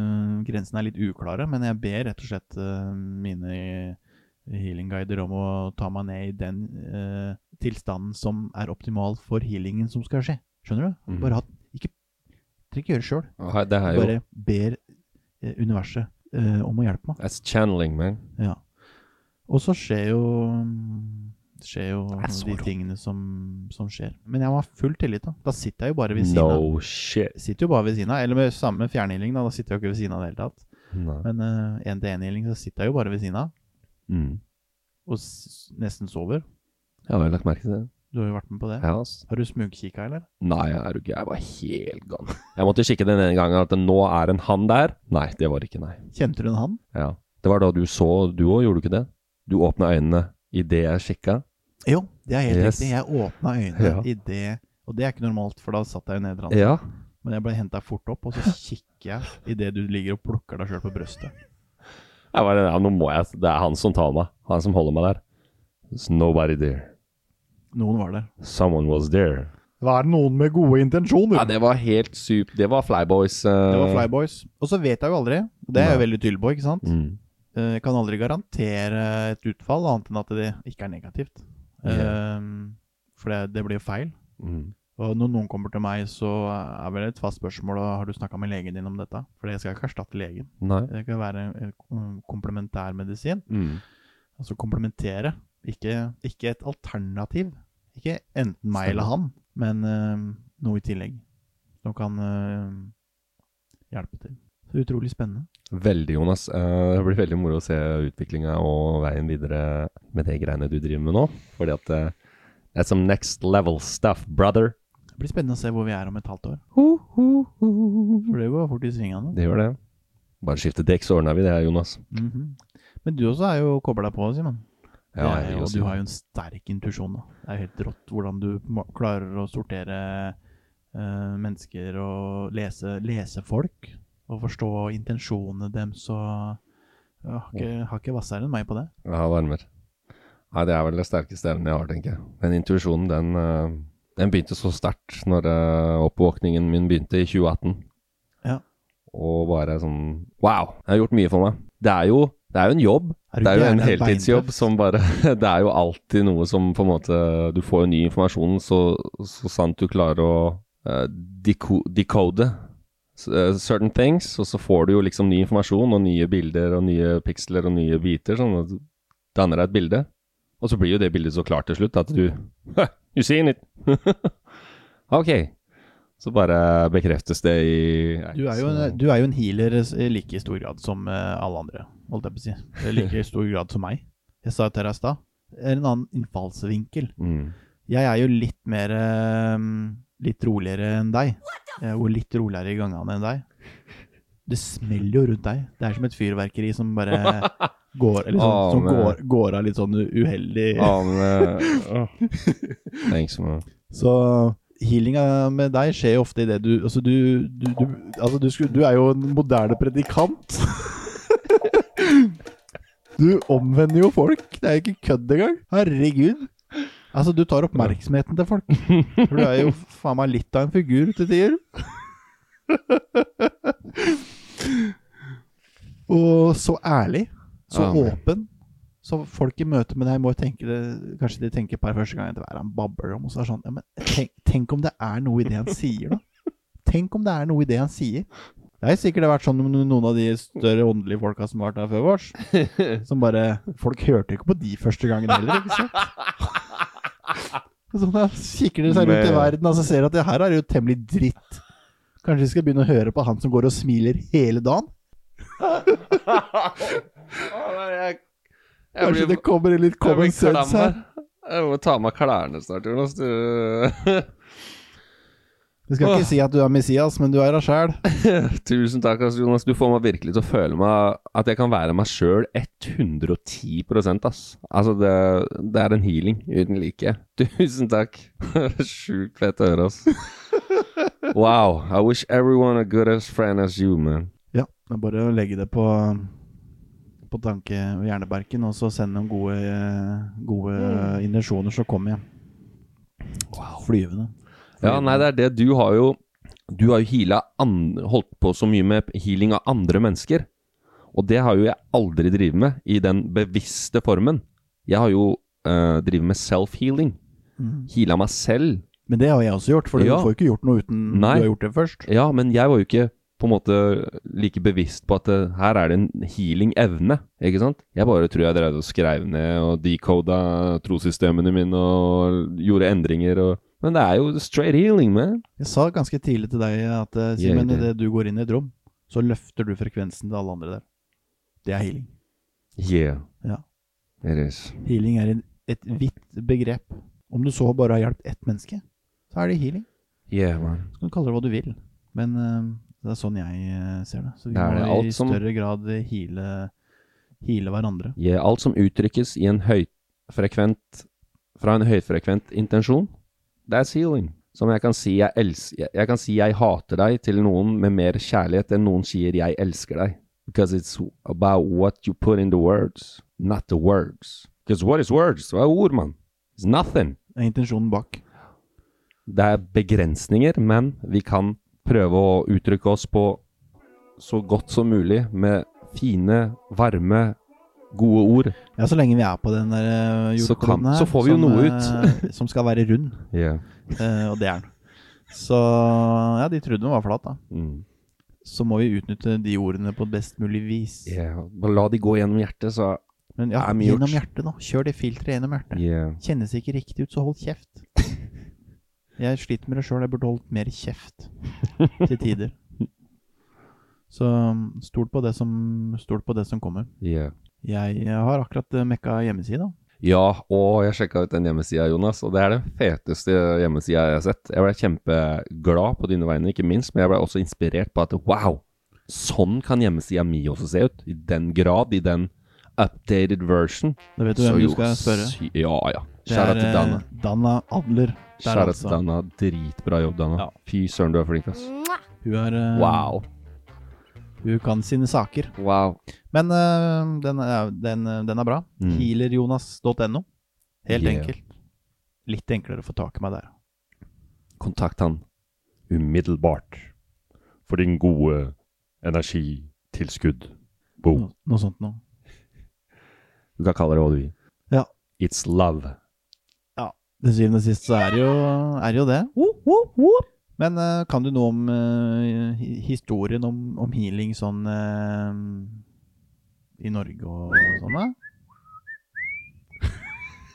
Speaker 3: grensene er litt uklare, men jeg ber rett og slett eh, mine healingguider om å ta meg ned i den eh, tilstanden som er optimal for healingen som skal skje. Skjønner du?
Speaker 2: Mhm.
Speaker 3: Bare hatt, ikke, trenger ikke gjøre det sjøl.
Speaker 2: Her- Det er jo
Speaker 3: Bare ber eh, universet eh, om å hjelpe meg.
Speaker 2: That's channeling, man.
Speaker 3: Ja. Og så skjer jo skjer jo
Speaker 2: er så
Speaker 3: de
Speaker 2: rått.
Speaker 3: tingene som, som skjer. Men jeg må ha full tillit, da. Da sitter jeg jo bare ved siden av.
Speaker 2: No shit.
Speaker 3: Sitter jo bare ved siden av. Eller med samme fjernhealing, da. Da sitter jeg jo ikke ved siden av i det hele tatt.
Speaker 2: Nei.
Speaker 3: Men én-til-én-healing, så sitter jeg jo bare ved siden av.
Speaker 2: Mm.
Speaker 3: Og s nesten sover.
Speaker 2: Jeg har vel lagt merke til det.
Speaker 3: Du har jo vært med på det.
Speaker 2: Ja, altså.
Speaker 3: Har du smugkikka, eller?
Speaker 2: Nei, er du gæren? Jeg var helt gal. Jeg måtte kikke den ene gangen at det nå er en han der. Nei, det var ikke nei.
Speaker 3: Kjente du en hann?
Speaker 2: Ja. Det var da du så, du òg, gjorde du ikke det? Du åpna øynene idet jeg kikka.
Speaker 3: Jo, det er helt
Speaker 2: Yes.
Speaker 3: riktig. Jeg åpna øynene
Speaker 2: Ja.
Speaker 3: i det Og det er ikke normalt, for da satt jeg jo ned i transen.
Speaker 2: Ja.
Speaker 3: Men jeg ble henta fort opp, og så kikker jeg idet du ligger og plukker deg sjøl på brøstet.
Speaker 2: Jeg bare, ja, nå må jeg, Det er han som tar meg. Han som holder meg der. There's nobody there.
Speaker 3: Noen var der.
Speaker 2: Someone was there.
Speaker 3: Da er det noen med gode intensjoner.
Speaker 2: Ja, det var helt sup... Det var Flyboys. eh,
Speaker 3: det var Flyboys. Og så vet jeg jo aldri. Det er jeg jo veldig tydelig på, ikke sant?
Speaker 2: Mm.
Speaker 3: Eh, Jeg kan aldri garantere et utfall, annet enn at det ikke er negativt.
Speaker 2: Ja.
Speaker 3: Eh, For det, det blir jo feil.
Speaker 2: Mm.
Speaker 3: Og når noen kommer til meg, så er vel et fast spørsmål og har du snakka med legen din om dette. For jeg skal ikke erstatte legen.
Speaker 2: Nei.
Speaker 3: Det kan være en- en komplementærmedisin.
Speaker 2: Mm.
Speaker 3: Altså komplementere, ikke, ikke et alternativ. Ikke enten meg eller han, men eh, noe i tillegg som kan eh, hjelpe til. Så utrolig spennende.
Speaker 2: Veldig, Jonas. Eh, Det blir veldig moro å se utviklinga og veien videre med det greiene du driver med nå. Fordi at eh, That's some next level stuff, brother.
Speaker 3: Det blir spennende å se hvor vi er om et halvt år. For det går fort i svingene.
Speaker 2: Det gjør det. Bare skifte dekk, så ordner vi det her, Jonas.
Speaker 3: Mhm. Men du også er jo kobla på, Simon.
Speaker 2: Ja, altså.
Speaker 3: Det er
Speaker 2: jeg vil
Speaker 3: jo- Eh, og
Speaker 2: også
Speaker 3: du
Speaker 2: si
Speaker 3: har jo en sterk intuisjon. da. Det er jo helt rått hvordan du ma- klarer å sortere eh, mennesker og lese, lese folk. Og forstå intensjonene deres og jeg har ikke, har ikke vassere enn meg på det.
Speaker 2: Jeg har varmer. Nei, det er vel det sterkeste evnen jeg har, tenker jeg. Den intuisjonen, den, eh, den begynte så sterkt når eh, oppvåkningen min begynte i 2018.
Speaker 3: Ja.
Speaker 2: Og bare sånn Wow! Jeg har gjort mye for meg. Det er jo, det er jo en jobb.
Speaker 3: Er du
Speaker 2: Det er jo en
Speaker 3: gæren? Det er
Speaker 2: heltidsjobb
Speaker 3: beintøft.
Speaker 2: som bare Det er jo alltid noe som på en måte Du får jo ny informasjon så, så sant du klarer å eh, deko, decode s- eh, certain things, og så får du jo liksom ny informasjon og nye bilder og nye piksler og nye biter, sånn at du danner deg et bilde. Og så blir jo det bildet så klart til slutt at du You seen it! ok. Så bare bekreftes det i
Speaker 3: Du er jo en, du er jo en healer eh, i like stor grad som eh, alle andre, holdt jeg på å si. I like stor grad som meg. Jeg sa jo til deg i stad. En annen innfallsvinkel.
Speaker 2: mm.
Speaker 3: Jeg er jo litt mer ehm, Litt roligere enn deg. eh, Og litt roligere i gangene enn deg. Det smeller jo rundt deg. Det er som et fyrverkeri som bare går, eller sånn,
Speaker 2: Å,
Speaker 3: som
Speaker 2: men- Ah.
Speaker 3: går, går av litt sånn uheldig.
Speaker 2: Ja, men, eh, Thanks, man.
Speaker 3: Så healinga med deg skjer jo ofte i det du Altså, du, du, du, altså du, skulle, du er jo en moderne predikant. du omvender jo folk. Det er jo ikke kødd engang. Herregud. Altså, du tar oppmerksomheten til folk. For du er jo faen meg litt av en figur til tider. Og så ærlig. Så
Speaker 2: Ja, men-
Speaker 3: åpen. Så folk i møte med deg må jo tenke det Kanskje de tenker på det første gang etter hver han babler om, og så er det sånn Ja, men tenk, tenk om det er noe i det han sier, da. Tenk om det er noe i det han sier. Det har sikkert vært sånn med noen av de større åndelige folka som har vært der før vårs. Som bare Folk hørte jo ikke på de første gangen heller, ikke sant? Sånn, da kikker de seg rundt i verden og så ser de at det her er jo temmelig dritt. Kanskje de skal begynne å høre på han som går og smiler hele dagen?
Speaker 2: Jeg,
Speaker 3: Kanskje det kommer en litt common sense her.
Speaker 2: Jeg må ta av meg klærne snart, Jonas. Du
Speaker 3: Du skal ikke si at du er Messias, men du er deg sjæl.
Speaker 2: Tusen takk, ass, Jonas. Du får meg virkelig til å føle meg at jeg kan være meg sjøl 110 ass. Altså, det, det er en healing uten like. Tusen takk. Sjukt fett å høre, ass. Wow. I wish everyone a good as friend as you, man.
Speaker 3: Ja, det er bare å legge det på På tanke- og hjernebarken, og så sende dem gode, gode indensjoner, så kommer jeg. Flyvende.
Speaker 2: Ja, nei, det er det. Du har jo Du har jo heala an- Holdt på så mye med healing av andre mennesker. Og det har jo jeg aldri drevet med i den bevisste formen. Jeg har jo uh, drevet med self-healing. Heala meg selv.
Speaker 3: Men det har jeg også gjort, for
Speaker 2: Ja.
Speaker 3: du får jo ikke gjort noe uten
Speaker 2: Nei.
Speaker 3: du har gjort det først.
Speaker 2: Ja, men jeg var jo ikke på en måte like bevisst på at det, her er det en healing-evne, ikke sant? Jeg bare tror jeg drev og skrev ned og decoda trossystemene mine og gjorde endringer og Men det er jo straight healing, man.
Speaker 3: Jeg sa ganske tidlig til deg at eh,
Speaker 2: Jeg
Speaker 3: Simen,
Speaker 2: gjør
Speaker 3: idet du går inn i et rom, så løfter du frekvensen til alle andre der. Det er healing.
Speaker 2: Yeah.
Speaker 3: Ja.
Speaker 2: It is.
Speaker 3: Healing er en- et vidt begrep. Om du så bare har hjulpet ett menneske, så er det healing.
Speaker 2: Yeah, man.
Speaker 3: Du kan kalle det hva du vil, men eh, det er sånn jeg eh, ser det. Så vi
Speaker 2: Det er det,
Speaker 3: må
Speaker 2: alt
Speaker 3: i
Speaker 2: som-
Speaker 3: større grad eh, heale, heale hverandre.
Speaker 2: Gi alt som uttrykkes i en høyfrekvent fra en høyfrekvent intensjon, that's healing. Som jeg kan si jeg els- jeg, jeg kan si jeg hater deg til noen med mer kjærlighet enn noen sier jeg elsker deg. Because it's about what you put in the words, not the words. Because what is words? Hva er ord, mann? It's nothing.
Speaker 3: Det er intensjonen bak.
Speaker 2: Det er begrensninger, men vi kan prøve å uttrykke oss på så godt som mulig med fine, varme, gode ord.
Speaker 3: Ja, så lenge vi er på den der eh,
Speaker 2: Så kan-
Speaker 3: jordkloden her,
Speaker 2: så får vi jo
Speaker 3: som,
Speaker 2: noe
Speaker 3: eh, som skal være rund,
Speaker 2: Yeah.
Speaker 3: eh, og det er den. Så ja, de trodde den var flat, da.
Speaker 2: Mm.
Speaker 3: Så må vi utnytte de ordene på best mulig vis.
Speaker 2: Yeah. Bare la de gå gjennom hjertet, så
Speaker 3: Men ja,
Speaker 2: Det er mye
Speaker 3: gjennom
Speaker 2: gjort.
Speaker 3: hjertet, da. Kjør det filteret gjennom hjertet.
Speaker 2: yeah.
Speaker 3: Kjennes ikke riktig ut, så hold kjeft. Jeg sliter med det sjøl, jeg burde holdt mer kjeft til tider. Så um, stol på det som, stol på det som kommer.
Speaker 2: Yeah.
Speaker 3: Jeg, jeg har akkurat eh, mekka hjemmeside. da.
Speaker 2: Ja, og jeg sjekka ut den hjemmesida, Jonas, og det er den feteste hjemmesida jeg har sett. Jeg ble kjempeglad på dine vegne, ikke minst, men jeg ble også inspirert på at wow, Sånn kan hjemmesida mi også se ut. I den grad, i den updated version.
Speaker 3: Da vet du
Speaker 2: Så
Speaker 3: hvem
Speaker 2: jo,
Speaker 3: du skal spørre.
Speaker 2: sy- Ja, ja.
Speaker 3: Det
Speaker 2: Kjære til
Speaker 3: eh,
Speaker 2: Danne.
Speaker 3: Danna Adler. Der,
Speaker 2: Kjære
Speaker 3: altså.
Speaker 2: til Danne. Dritbra jobb, Danne.
Speaker 3: Ja.
Speaker 2: Fy søren, du er flink, ass.
Speaker 6: Mwah.
Speaker 3: Hun, er, eh,
Speaker 2: Wow.
Speaker 3: hun kan sine saker.
Speaker 2: Wow.
Speaker 3: Men eh, den, er- den, eh, den er bra.
Speaker 2: Mm.
Speaker 3: Healerjonas.no. Helt
Speaker 2: Yeah.
Speaker 3: enkelt. Litt enklere å få tak i meg der.
Speaker 2: Kontakt han.
Speaker 5: Umiddelbart. For din gode energitilskudd. Boom.
Speaker 3: No, noe sånt noe.
Speaker 2: Du kan kalle det hva du vil.
Speaker 3: Ja.
Speaker 2: It's love.
Speaker 3: Til syvende og sist så er det jo, er det, jo det. Men eh, kan du noe om eh, hi- historien om, om healing sånn eh, i Norge og sånn? da?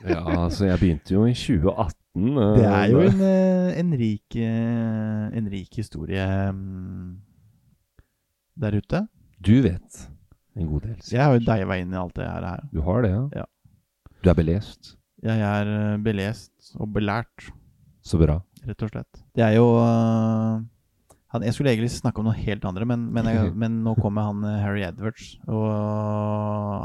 Speaker 2: Ja, altså, jeg begynte jo i 2018. eh,
Speaker 3: Det er jo en, eh, en, rik, eh, en rik historie mm, der ute.
Speaker 2: Du vet en god del.
Speaker 3: Så jeg har jo deiva inn i alt det her. her.
Speaker 2: Du har det, ja?
Speaker 3: Ja.
Speaker 2: Du er belest.
Speaker 3: Jeg er eh, belest og belært,
Speaker 2: Så bra.
Speaker 3: rett og slett. Det er jo eh, han, Jeg skulle egentlig snakke om noe helt andre, men, men, jeg, men nå kommer han eh, Harry Edwards. Og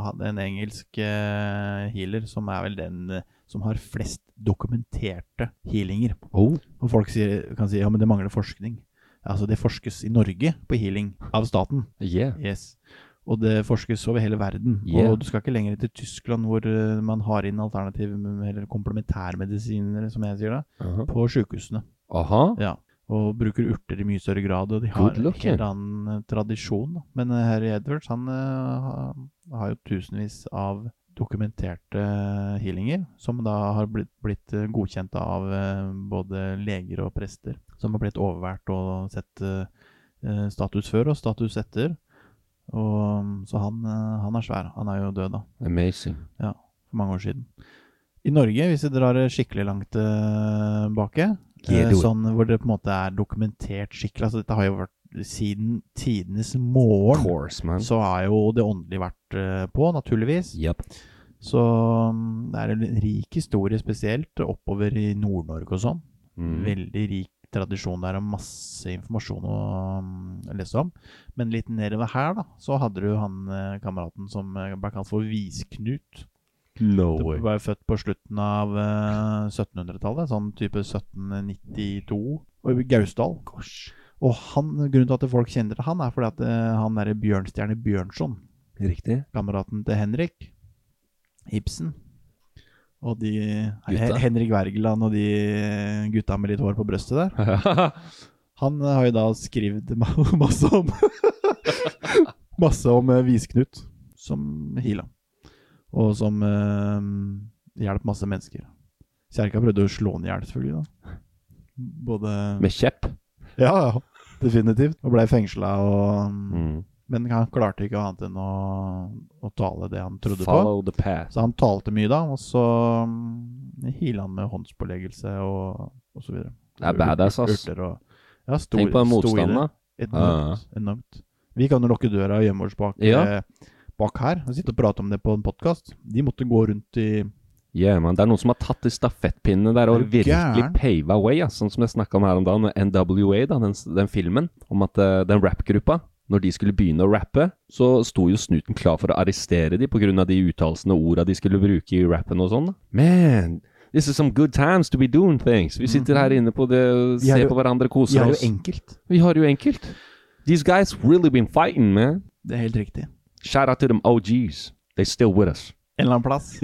Speaker 3: han, en engelsk eh, healer som er vel den eh, som har flest dokumenterte healinger.
Speaker 2: Oh.
Speaker 3: Og folk sier, kan si ja, men det mangler forskning. Altså, det forskes i Norge på healing av staten.
Speaker 2: Yeah.
Speaker 3: Yes. Og det forskes over hele verden.
Speaker 2: Yeah.
Speaker 3: Og du skal ikke lenger til Tyskland, hvor eh, man har inn alternativ eller komplementærmedisiner, som jeg sier da,
Speaker 2: Aha.
Speaker 3: på sjukehusene.
Speaker 2: Aha.
Speaker 3: Ja. Og bruker urter i mye større grad, og de har
Speaker 2: Good
Speaker 3: en
Speaker 2: luck,
Speaker 3: helt annen eh, tradisjon. da. Men eh, herr Edwards, han eh, ha- har jo tusenvis av dokumenterte eh, healinger, som da har blitt, blitt eh, godkjent av eh, både leger og prester, som har blitt overvært og sett eh, eh, status før og status etter. Og, mm, så han, eh, han er svær. Han er jo død, da
Speaker 2: Amazing.
Speaker 3: for mange år siden. I Norge, hvis vi drar det skikkelig langt eh, baki,
Speaker 2: Get
Speaker 3: eh,
Speaker 2: it.
Speaker 3: sånn hvor det på en måte er dokumentert skikkelig altså Dette har jo vært siden tidenes morgen.
Speaker 2: course, man.
Speaker 3: Så har jo det åndelige vært eh, på, naturligvis.
Speaker 2: Yep.
Speaker 3: Så mm, det er en rik historie, spesielt oppover i Nord-Norge og sånn.
Speaker 2: Mm.
Speaker 3: Veldig rik tradisjon der og masse informasjon å mm, lese om. Men litt nedover her, da, så hadde du han eh, kameraten som eh, ble kalt for Visknut.
Speaker 2: No
Speaker 3: Du ble født på slutten av eh, 1700-tallet, sånn type 1792, og i Gausdal. Og han, grunnen til at folk kjenner til han, er fordi at eh, han derre Bjørnstjerne Bjørnson,
Speaker 2: Riktig.
Speaker 3: kameraten til Henrik Ibsen og de
Speaker 2: Gutta.
Speaker 3: Hen- Henrik Wergeland og de eh, gutta med litt hår på brøstet der. Han eh, har jo da skrevet ma- masse om Masse om eh, Visknut, som heala. Og som eh, hjalp masse mennesker. Kjerka prøvde å slå han i hjel, selvfølgelig. da. Både
Speaker 2: Med kjepp.
Speaker 3: Ja, ja. Definitivt. Og blei fengsla og
Speaker 2: Mm.
Speaker 3: Men han klarte ikke annet enn å, å tale det han trodde på.
Speaker 2: Follow the path.
Speaker 3: Så han talte mye da, og så um, heala han med håndspåleggelse og, og så videre.
Speaker 2: Det er badass, ass.
Speaker 3: Urter og ja, stor,
Speaker 2: Tenk på den
Speaker 3: stor-
Speaker 2: motstanden, da. Ah.
Speaker 3: Enormt. enormt. Vi kan jo lukke døra og gjemme oss bak,
Speaker 2: Ja.
Speaker 3: eh, bak her og sitte og prate om det på en podkast. De måtte gå rundt i
Speaker 2: Yeah, man. Det er noen som har tatt i stafettpinnene der og
Speaker 3: Er du
Speaker 2: virkelig
Speaker 3: gæren?
Speaker 2: pava way, ass. sånn som jeg snakka om her om dagen, med NWA, da, den, den filmen, om at eh, den rappgruppa når de skulle begynne å rappe, så sto jo snuten klar for å arrestere de pga. de uttalelsene og orda de skulle bruke i rappen og sånn. da. Man, this is some good times to be doing things. Vi sitter her inne på det,
Speaker 3: Vi har
Speaker 2: ser
Speaker 3: jo-
Speaker 2: på hverandre,
Speaker 3: Vi
Speaker 2: koser
Speaker 3: har jo
Speaker 2: oss.
Speaker 3: enkelt.
Speaker 2: Vi har jo enkelt. These guys really been fighting, man.
Speaker 3: Det er helt riktig.
Speaker 2: Shout out to them OGs. They still with us.
Speaker 3: En eller annen plass.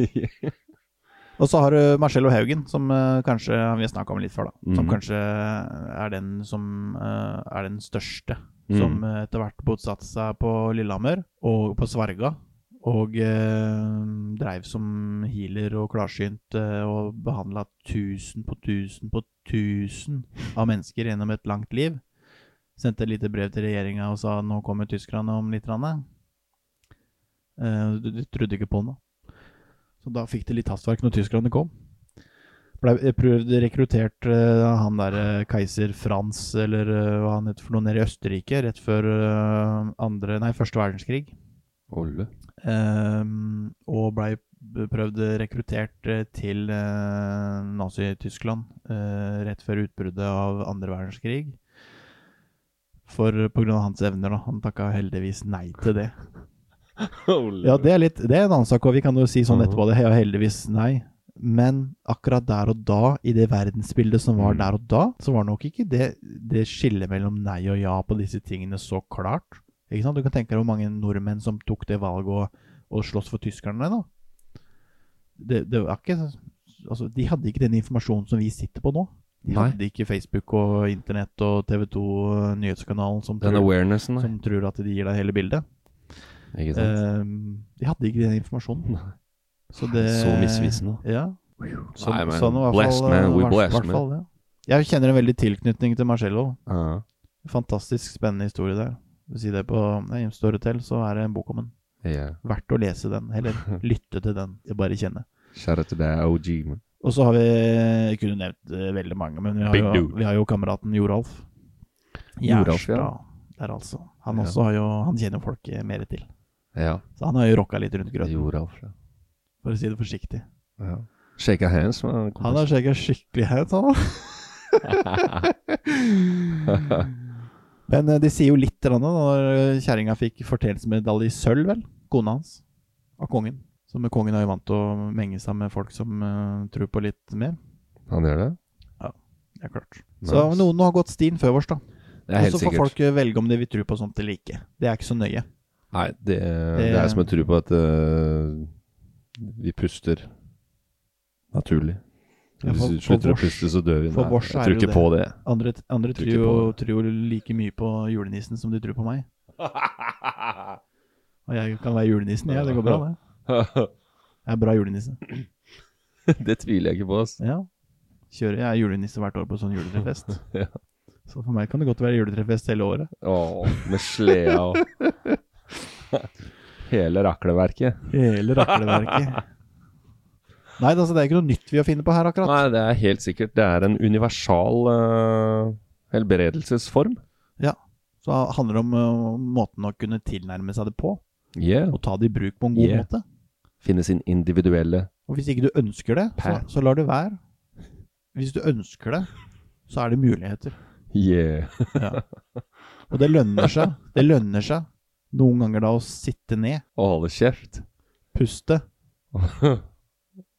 Speaker 3: og så har du Marcello Haugen, som eh, kanskje vi har snakka om litt før, da. Som
Speaker 2: Mhm.
Speaker 3: kanskje er den som eh, er den største. Som eh, etter hvert bosatte seg på Lillehammer og på Sverga. Og eh, dreiv som healer og klarsynt eh, og behandla tusen på tusen på tusen av mennesker gjennom et langt liv. Sendte et lite brev til regjeringa og sa nå kommer tyskerne om litt. Rand. Eh, du, du trodde ikke på den, da. Så da fikk det litt hastverk når tyskerne kom. Ble jeg prøvde rekruttert eh, han der eh, keiser Frans, eller eh, hva han heter for noe, nede i Østerrike, rett før eh, andre, nei, første verdenskrig.
Speaker 2: Olle.
Speaker 3: Ehm, og blei prøvd rekruttert eh, til eh, Nazi-Tyskland eh, rett før utbruddet av andre verdenskrig. for pga. hans evner. Da. Han takka heldigvis nei til det.
Speaker 2: Holy
Speaker 3: Ja, det er, litt, det er en annen sak, og vi kan jo si sånn etterpå det, ja, heldigvis nei. Men akkurat der og da, i det verdensbildet som var der og da, så var nok ikke det, det skillet mellom nei og ja på disse tingene så klart. Ikke sant? Du kan tenke deg hvor mange nordmenn som tok det valget og, og slåss for tyskerne, da. Det, det var ikke Altså, de hadde ikke den informasjonen som vi sitter på nå. De
Speaker 2: Nei.
Speaker 3: hadde ikke Facebook og Internett og TV 2 nyhetskanalen som
Speaker 2: Den
Speaker 3: tror,
Speaker 2: awarenessen der.
Speaker 3: som tror at de gir deg hele bildet.
Speaker 2: Ikke sant?
Speaker 3: Ehm, de hadde ikke den informasjonen.
Speaker 2: Nei.
Speaker 3: Så det
Speaker 2: Så misvisende.
Speaker 3: Ja. Så,
Speaker 2: Nei, men,
Speaker 3: sånn i hvert fall-
Speaker 2: blessed, man. We
Speaker 3: hvert-
Speaker 2: blessed,
Speaker 3: hvert
Speaker 2: man.
Speaker 3: fall det. Jeg kjenner en veldig tilknytning til Marcello.
Speaker 2: Ja.
Speaker 3: Fantastisk spennende historie der. Hvis du sier det på Jim Storytel, så er det en bok om den.
Speaker 2: Ja.
Speaker 3: Verdt å lese den, eller lytte til den. Bare kjenne.
Speaker 2: Shout out til deg, OG. Man.
Speaker 3: Og så har vi Jeg kunne nevnt eh, veldig mange, men vi har,
Speaker 2: Big
Speaker 3: jo,
Speaker 2: dude.
Speaker 3: vi har jo kameraten Joralf.
Speaker 2: Joralf, ja.
Speaker 3: Gjerstad Der, altså. Han
Speaker 2: Ja.
Speaker 3: også har jo Han kjenner folk eh, mer til.
Speaker 2: Ja.
Speaker 3: Så han har jo rokka litt rundt grøten,
Speaker 2: Joralf. Ja.
Speaker 3: for å si det forsiktig.
Speaker 2: Ja. Shake a hands. Man.
Speaker 3: Han har sjekka skikkelig høyt, han. Men eh, det sier jo litt grann, da, når eh, kjerringa fikk fortjenstmedalje i sølv, vel? Kona hans. Av kongen. Så med kongen er jo vant til å menge seg med folk som eh, tror på litt mer.
Speaker 2: Han gjør det?
Speaker 3: Det er klart.
Speaker 2: Nice.
Speaker 3: Så noen har gått stien før oss, da.
Speaker 2: Det er
Speaker 3: Og
Speaker 2: helt
Speaker 3: så får
Speaker 2: sikkert.
Speaker 3: folk eh, velge om de vil tro på sånt eller ikke. Det er ikke så nøye.
Speaker 2: Nei, det, det
Speaker 3: Det-
Speaker 2: er som jeg tror på at øh, vi puster naturlig.
Speaker 3: Ja,
Speaker 2: Hvis
Speaker 3: for-
Speaker 2: vi
Speaker 3: for
Speaker 2: slutter å
Speaker 3: vårs-
Speaker 2: puste, så dør vi.
Speaker 3: for
Speaker 2: Nei,
Speaker 3: vårs er
Speaker 2: jeg tror
Speaker 3: det jo
Speaker 2: ikke på det.
Speaker 3: Andre, andre
Speaker 2: Tror
Speaker 3: tror,
Speaker 2: ikke
Speaker 3: jo,
Speaker 2: på
Speaker 3: tror jo like mye på julenissen som de tror på meg. Og jeg kan være julenissen, jeg. Det går bra, det. Jeg er bra julenisse.
Speaker 2: det tviler jeg ikke på. Ass.
Speaker 3: Ja. Kjører jeg er julenisse hvert år på sånn juletrefest.
Speaker 2: Ja.
Speaker 3: Så for meg kan det godt være juletrefest hele året.
Speaker 2: Åh, med sleda og Hele rakleverket.
Speaker 3: Hele rakleverket. Nei, altså, det er ikke noe nytt vi har funnet på her, akkurat.
Speaker 2: Nei, det er helt sikkert. Det er en universal øh, helbredelsesform.
Speaker 3: Så det handler det om uh, måten å kunne tilnærme seg det på,
Speaker 2: Yeah.
Speaker 3: og ta det i bruk på en god
Speaker 2: Yeah.
Speaker 3: måte.
Speaker 2: Finne sin individuelle
Speaker 3: Og hvis ikke du ønsker det, så,
Speaker 2: Pæ.
Speaker 3: så lar det være. Hvis du ønsker det, så er det muligheter.
Speaker 2: yeah.
Speaker 3: Ja. Og det lønner seg. Det lønner seg noen ganger da å sitte ned,
Speaker 2: og holde kjeft.
Speaker 3: puste,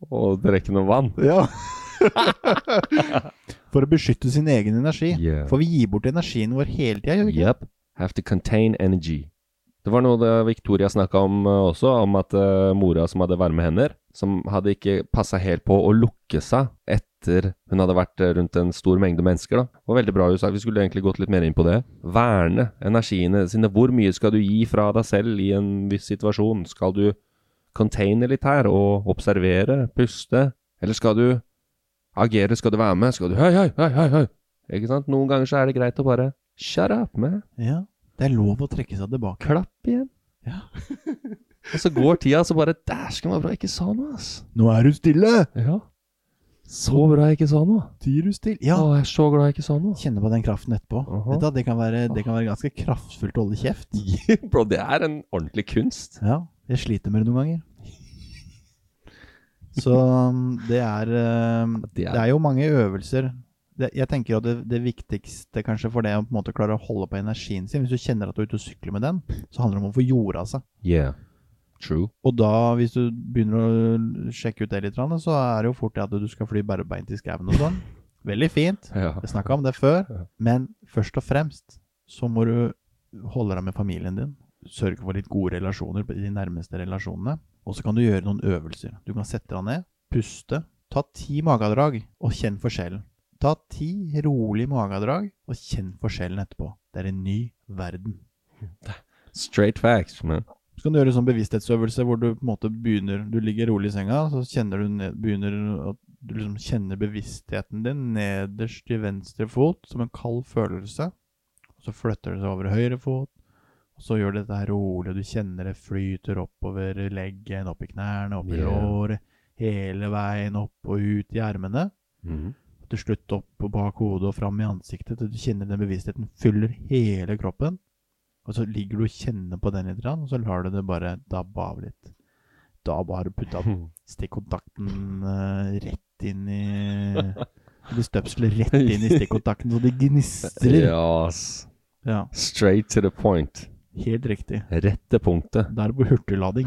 Speaker 2: og drikke noe vann.
Speaker 3: Ja. For å beskytte sin egen energi.
Speaker 2: Yeah.
Speaker 3: For vi gir bort energien vår hele tida, gjør vi ikke?
Speaker 2: Yep. Have to contain energy. Det var noe det Victoria snakka om eh, også, om at eh, mora som hadde varme hender, som hadde ikke passa helt på å lukke seg etter hun hadde vært eh, rundt en stor mengde mennesker. da. Det var veldig bra hun sa, vi skulle egentlig gått litt mer inn på det. Verne energiene sine. Hvor mye skal du gi fra deg selv i en viss situasjon? Skal du containe litt her og observere, puste? Eller skal du agere, skal du være med? Skal du hei, hei, hei, hei, hei? Ikke sant? Noen ganger så er det greit å bare shut up, man.
Speaker 3: Ja. Det er lov å trekke seg tilbake.
Speaker 2: Klapp igjen.
Speaker 3: Ja.
Speaker 2: og så går tida, så bare Dæsken, var bra jeg ikke sa noe, ass.
Speaker 3: Nå er du stille!
Speaker 2: Ja. Så bra jeg ikke sa noe.
Speaker 3: Tier du stille? Ja.
Speaker 2: Å, jeg er så glad jeg ikke sa noe.
Speaker 3: Kjenne på den kraften etterpå.
Speaker 2: Aha.
Speaker 3: Vet du, hva, det, kan være, det kan være ganske kraftfullt å holde kjeft.
Speaker 2: Bro, det er en ordentlig kunst.
Speaker 3: Ja. Jeg sliter med det noen ganger. Så um, det er um,
Speaker 2: Det er-
Speaker 3: Det er jo mange øvelser. Det, jeg tenker at det, det viktigste kanskje for det å på en måte klare å holde på energien sin, hvis du kjenner at du er ute og sykler med den, så handler det om å få jorda seg.
Speaker 2: Yeah. True.
Speaker 3: Og da, hvis du begynner å sjekke ut det litt, grann, så er det jo fort det at du skal fly bærbeint i skauen og sånn. Veldig fint.
Speaker 2: Ja.
Speaker 3: Jeg snakka om det før. Men først og fremst så må du holde deg med familien din. Sørge for litt gode relasjoner i de nærmeste relasjonene. Og så kan du gjøre noen øvelser. Du kan sette deg ned, puste. Ta ti magedrag, og kjenn forskjellen. Ta ti rolige magedrag, og kjenn forskjellen etterpå. Det er en ny verden.
Speaker 2: Straight facts, man.
Speaker 3: Så kan du gjøre en sånn bevissthetsøvelse hvor du på en måte begynner Du ligger rolig i senga, så kjenner du ned, begynner at du liksom kjenner bevisstheten din nederst til venstre fot som en kald følelse. Og så flytter det seg over høyre fot, og så gjør du dette her rolig. og Du kjenner det flyter oppover i leggen, opp i knærne, opp i
Speaker 2: Yeah.
Speaker 3: låret, hele veien opp og ut i ermene.
Speaker 2: Mhm.
Speaker 3: Og Til slutt opp og bak hodet og fram i ansiktet, til du kjenner den bevisstheten fyller hele kroppen. Og så ligger du og kjenner på den litt, grann, og så lar du det bare dabbe av litt. Da bare putta stikkontakten eh, rett inn i Eller støpselet rett inn i stikkontakten, så det gnistrer.
Speaker 2: Ja, ass.
Speaker 3: Ja,
Speaker 2: Straight to the point.
Speaker 3: Helt riktig.
Speaker 2: Rett til punktet.
Speaker 3: Da er det på hurtiglading.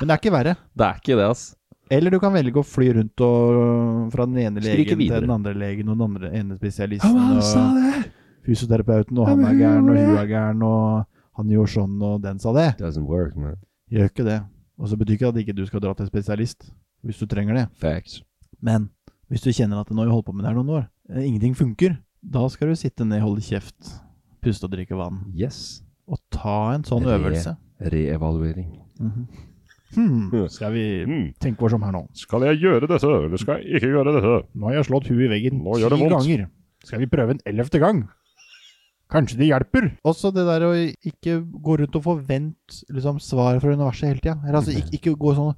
Speaker 3: Men det er ikke verre.
Speaker 2: Det er ikke det, ass.
Speaker 3: Eller du kan velge å fly rundt og, fra den ene
Speaker 2: Skrike
Speaker 3: legen
Speaker 2: videre.
Speaker 3: til den andre legen og den andre ene
Speaker 2: Ja,
Speaker 3: spesialisten.
Speaker 2: men han sa
Speaker 3: og
Speaker 2: det!
Speaker 3: fysioterapeuten, og
Speaker 2: Ja,
Speaker 3: han
Speaker 2: men
Speaker 3: er
Speaker 2: hun
Speaker 3: gæren, og
Speaker 2: gjorde
Speaker 3: hun
Speaker 2: det.
Speaker 3: er gæren, og han gjorde sånn, og den sa det.
Speaker 2: Doesn't work, man.
Speaker 3: Gjør ikke det. Og så betyr ikke at ikke du skal dra til spesialist hvis du trenger det.
Speaker 2: Facts.
Speaker 3: Men hvis du kjenner at nå har jeg holdt på med det her noen år, eh, ingenting funker, da skal du sitte ned, holde kjeft, puste og drikke vann,
Speaker 2: Yes.
Speaker 3: og ta en sånn
Speaker 2: Re-
Speaker 3: øvelse.
Speaker 2: Reevaluering.
Speaker 3: Hmm, skal vi
Speaker 5: Mm.
Speaker 3: tenke oss om her nå?
Speaker 5: Skal jeg gjøre dette, eller skal jeg ikke gjøre dette?
Speaker 3: Nå har jeg slått huet i veggen
Speaker 5: Nå gjør det vondt.
Speaker 3: Skal vi prøve en ellevte gang? Kanskje det hjelper? Også det der å ikke gå rundt og forvente liksom, svar fra universet hele tida. Altså,
Speaker 2: Mm.
Speaker 3: ikke, ikke gå sånn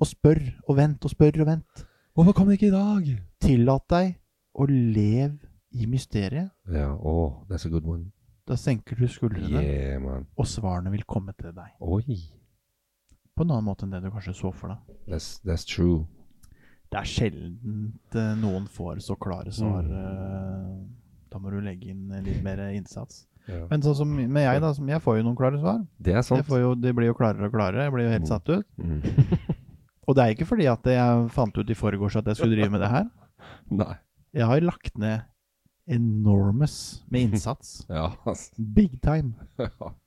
Speaker 3: og spør og vent og spør og vent.
Speaker 2: Hvorfor kom det ikke i dag?
Speaker 3: Tillat deg å leve i mysteriet.
Speaker 2: Ja, åh, that's a good one.
Speaker 3: Da senker du skuldrene,
Speaker 2: Yeah, man.
Speaker 3: og svarene vil komme til deg.
Speaker 2: Oi.
Speaker 3: På en annen måte enn det du kanskje så for deg.
Speaker 2: That's, that's true.
Speaker 3: Det er sjelden eh, noen får så klare
Speaker 2: Mm.
Speaker 3: svar. eh, Da må du legge inn eh, litt mer innsats.
Speaker 2: Ja.
Speaker 3: Men sånn som med jeg, da. Som jeg får jo noen klare svar.
Speaker 2: Det er
Speaker 3: Jeg
Speaker 2: sant.
Speaker 3: får jo, det blir jo klarere og klarere. Jeg blir jo helt satt ut.
Speaker 2: Mm.
Speaker 3: Og det er ikke fordi at jeg fant ut i forgårs at jeg skulle drive med det her.
Speaker 2: Nei.
Speaker 3: Jeg har lagt ned enormous med innsats.
Speaker 2: Ja, ass.
Speaker 3: Big time.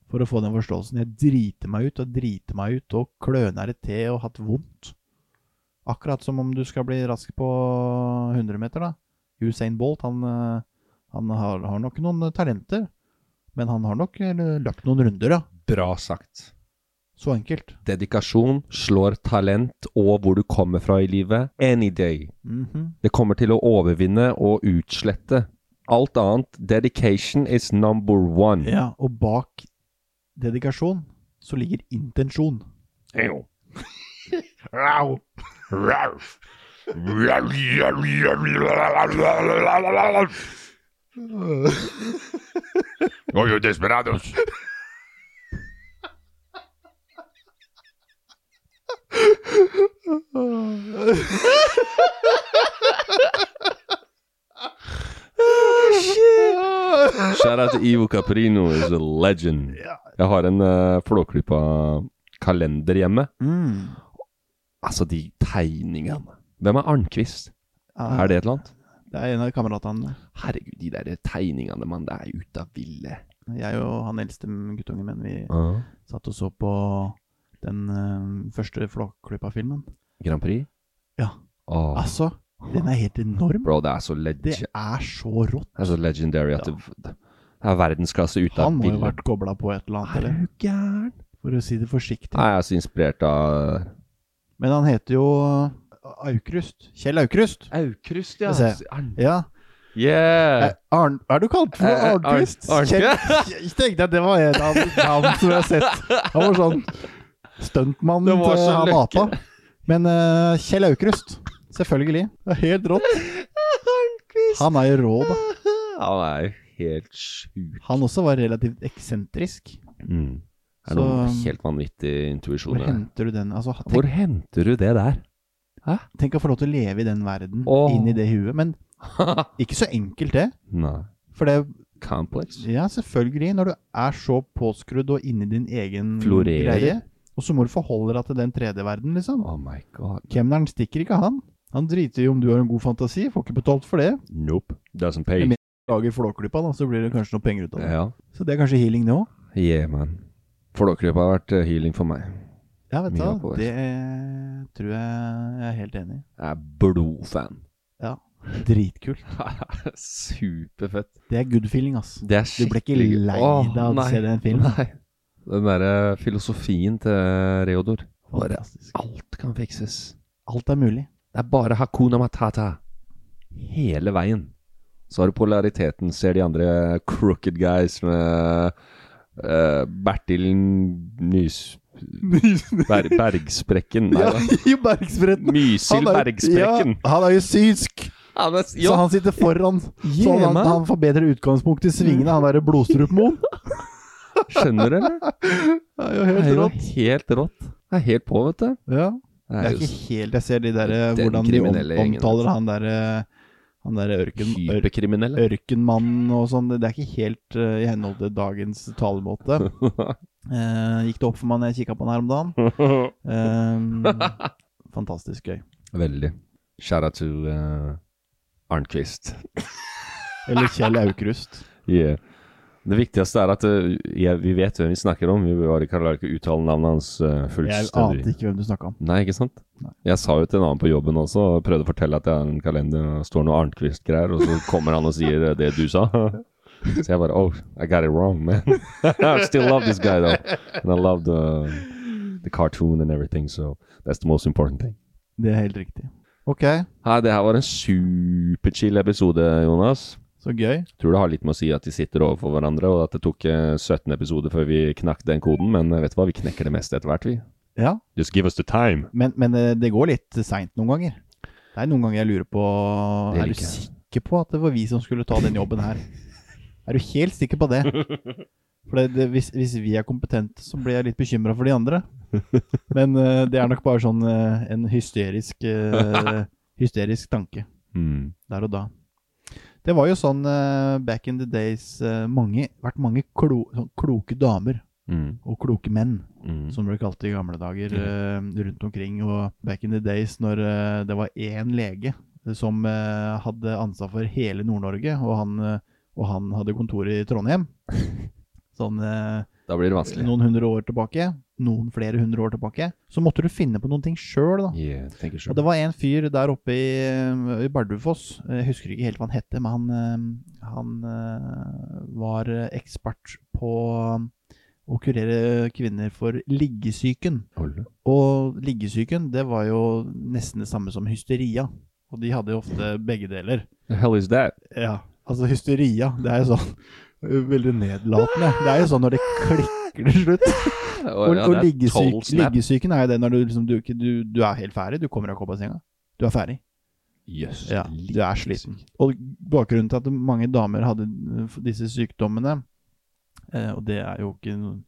Speaker 3: For å få den forståelsen. Jeg driter meg ut og driter meg ut og kløner i te og hatt vondt. Akkurat som om du skal bli rask på 100 meter, da. Usain Bolt, han, eh, han har, har nok noen talenter. Men han har nok eh, løpt noen runder, ja.
Speaker 2: Bra sagt.
Speaker 3: Så enkelt.
Speaker 2: Dedikasjon slår talent og hvor du kommer fra i livet. Any day.
Speaker 3: Mhm.
Speaker 2: Det kommer til å overvinne og utslette. Alt annet, dedication is number one.
Speaker 3: Ja, og bak dedikasjon så ligger intensjon.
Speaker 5: Ew. Ow. Ralph. oh, you desperados.
Speaker 2: Shout out til Ivo Caprino, is a legend. Jeg har en uh, flåklypa kalender hjemme.
Speaker 3: Mm.
Speaker 2: Altså, de tegningene. Hvem er Arnquist?
Speaker 3: Ja,
Speaker 2: Er det et eller annet?
Speaker 3: Det er en av kameratene.
Speaker 2: Herregud, de der tegningene, mann. Det er ut av ville.
Speaker 3: Jeg og han eldste guttungen min, vi satt og så på den eh, første Flåklypa-filmen.
Speaker 2: Grand Prix?
Speaker 3: Ja.
Speaker 2: Åh.
Speaker 3: Altså, den er helt enorm.
Speaker 2: Bro, det er så legend.
Speaker 3: Det er så rått.
Speaker 2: Det er så legendary at
Speaker 3: Ja.
Speaker 2: det, det er verdensklasse ut av
Speaker 3: Han må jo
Speaker 2: bildet.
Speaker 3: ha vært kobla på et eller annet,
Speaker 2: Er
Speaker 3: eller?
Speaker 2: du gæren?
Speaker 3: for å si det forsiktig.
Speaker 2: Nei, jeg er så inspirert av
Speaker 3: Men han heter jo Aukrust. Kjell Aukrust.
Speaker 2: Aukrust,
Speaker 3: Skal vi se. Ja.
Speaker 2: Yeah!
Speaker 3: Eh, Arn, er du kalt for
Speaker 2: Eh, eh,
Speaker 3: Arnquist?
Speaker 2: Arn-
Speaker 3: Kjell- Jeg tenkte at det var en av navnene som jeg har sett. Han var sånn
Speaker 2: Det
Speaker 3: stuntmannen
Speaker 2: var
Speaker 3: til
Speaker 2: så
Speaker 3: han apa.
Speaker 2: løkke.
Speaker 3: Men eh, Kjell Aukrust, selvfølgelig. Det er helt rått. Han er jo rå, da.
Speaker 2: Han er jo helt sjuk.
Speaker 3: Han også var relativt eksentrisk.
Speaker 2: Mm. Det er
Speaker 3: Så-
Speaker 2: noen helt vanvittige
Speaker 3: Hvor
Speaker 2: intuisjoner.
Speaker 3: henter du den? Altså,
Speaker 2: Hvor
Speaker 3: tenk,
Speaker 2: henter du det der?
Speaker 3: tenk å få lov til å leve i den verden,
Speaker 2: Åh.
Speaker 3: inn i det huet. Men ikke så enkelt, det.
Speaker 2: Nei.
Speaker 3: For det
Speaker 2: Complex?
Speaker 3: Ja, selvfølgelig. Når du er så påskrudd og inni din egen
Speaker 2: Florerer.
Speaker 3: greie. Og så må du forholde deg til den tredje verden, liksom.
Speaker 2: Oh my god.
Speaker 3: Kemneren stikker ikke, han. Han driter i om du har en god fantasi, får ikke betalt for det.
Speaker 2: Nope. Doesn't
Speaker 3: Jeg
Speaker 2: pay.
Speaker 3: mener- Lager flåklypa, da, så blir det kanskje noe penger ut av det.
Speaker 2: Ja.
Speaker 3: Så det er kanskje healing, det òg.
Speaker 2: Yeah, man. Flåklypa har vært eh, healing for meg.
Speaker 3: Ja, vet du
Speaker 2: Mye altså.
Speaker 3: hva,
Speaker 2: oppover.
Speaker 3: det tror jeg jeg er helt enig i.
Speaker 2: Jeg er blodfan.
Speaker 3: Ja. Dritkult.
Speaker 2: Superfett.
Speaker 3: Det er good feeling, ass.
Speaker 2: Det er
Speaker 3: Du ble ikke
Speaker 2: skikkelig-
Speaker 3: lei
Speaker 2: Åh,
Speaker 3: deg av å
Speaker 2: nei.
Speaker 3: se den filmen?
Speaker 2: Nei. Den derre filosofien til eh, Reodor. Bare
Speaker 3: Fantastisk.
Speaker 2: alt kan fikses.
Speaker 3: Alt er mulig.
Speaker 2: Det er bare hakuna matata. Hele veien. Så har du polariteten. Ser de andre eh, crooked guys med eh, Bertil Nys... Ber Bergsprekken. Nei, da.
Speaker 3: I Bergsbretten.
Speaker 2: Mysil Bergsprekken.
Speaker 3: Ja, han er jo synsk,
Speaker 2: Ja, men,
Speaker 3: så
Speaker 2: ja.
Speaker 3: han sitter foran. Så
Speaker 2: Yeah,
Speaker 3: han,
Speaker 2: man.
Speaker 3: han får bedre utgangspunkt i svingene, han derre blodstrupmoen.
Speaker 2: Skjønner du, eller?
Speaker 3: Det er
Speaker 2: Det
Speaker 3: jo
Speaker 2: er
Speaker 3: helt
Speaker 2: jo
Speaker 3: rått.
Speaker 2: helt rått. Det er helt på, vet du.
Speaker 3: Ja.
Speaker 2: Det er
Speaker 3: Det er
Speaker 2: jo
Speaker 3: ikke helt Jeg ser de der, eh,
Speaker 2: Den
Speaker 3: hvordan de om,
Speaker 2: kriminelle gjengen,
Speaker 3: omtaler
Speaker 2: altså.
Speaker 3: han der eh, Han der ørken, ør, Eh.
Speaker 2: Hyperkriminelle.
Speaker 3: ørkenmannen og sånn. Det er ikke helt eh, i henhold til dagens talemåte. Eh, gikk det opp for meg når jeg kikka på den her om dagen. Eh, fantastisk gøy.
Speaker 2: Veldig. Shout out to uh, Arnquist.
Speaker 3: Eller Kjell Aukrust.
Speaker 2: Yeah. Det viktigste er at eh, jeg, vi vet hvem vi snakker om. Vi bare kan la ikke uttale navnet hans eh,
Speaker 3: Jeg
Speaker 2: fullstendig.
Speaker 3: ante ikke hvem du snakka om.
Speaker 2: Nei, ikke sant? Jeg sa jo til en annen på jobben også, og prøvde å fortelle at jeg har en kalender, og det står noe Arnquist-greier, og så kommer han og sier eh, det du sa. Så jeg bare Oh, I got it wrong, man. I still love this guy, though. And I love the, the cartoon and everything, so that's the most important thing.
Speaker 3: Det er helt riktig. Ok,
Speaker 2: Hei, det her var en superchill episode, Jonas.
Speaker 3: så gøy.
Speaker 2: Tror det har litt med å si at de sitter overfor hverandre, og at det tok eh, 17 episoder før vi knakk den koden, men eh, vet du hva, vi knekker det meste etter hvert, vi.
Speaker 3: Ja,
Speaker 5: Just give us the time.
Speaker 3: Men, men eh, det går litt seint noen ganger. Det er noen ganger jeg lurer på
Speaker 2: Det
Speaker 3: Er du
Speaker 2: liker jeg.
Speaker 3: sikker på at det var vi som skulle ta den jobben her? Er du helt sikker på det? For det, det, hvis, hvis vi er kompetente, så blir jeg litt bekymra for de andre. Men eh, det er nok bare sånn eh, en hysterisk, eh, hysterisk tanke
Speaker 2: Mm.
Speaker 3: der og da. Det var jo sånn eh, back in the days eh, mange, vært mange klo, sånn kloke damer
Speaker 2: Mm.
Speaker 3: og kloke menn
Speaker 2: Mm.
Speaker 3: som det ble kalt i gamle dager eh, rundt omkring. Og back in the days når eh, det var én lege som eh, hadde ansvar for hele Nord-Norge, og, han, eh, og han hadde kontor i Trondheim. Sånn eh,
Speaker 2: Da blir det vanskelig.
Speaker 3: noen hundre år tilbake, noen flere hundre år tilbake. Så måtte du finne på noen ting sjøl, da.
Speaker 2: Yeah, tenker
Speaker 3: Og
Speaker 2: selv.
Speaker 3: det var en fyr der oppe i, eh, i Bardufoss, jeg husker ikke helt hva han hette, men han, eh, han eh, var eh, ekspert på eh, å kurere kvinner for liggesyken.
Speaker 2: Hold.
Speaker 3: Og liggesyken, det var jo nesten det samme som hysteria. Og de hadde jo ofte begge deler.
Speaker 2: The hell is that?
Speaker 3: Ja, altså hysteria, det er jo sånn veldig nedlatende. Det er jo sånn når det klikker til slutt. Og,
Speaker 2: ja,
Speaker 3: og
Speaker 2: det er
Speaker 3: liggesyk,
Speaker 2: total snap.
Speaker 3: liggesyken er jo det når du liksom du, ikke- du, du er helt ferdig. Du kommer deg ikke opp av senga. Du er ferdig.
Speaker 2: Jøss.
Speaker 3: Ja,
Speaker 2: liggesyk.
Speaker 3: du er sliten. Og bakgrunnen til at mange damer hadde eh, disse sykdommene, eh, og det er jo ikke noen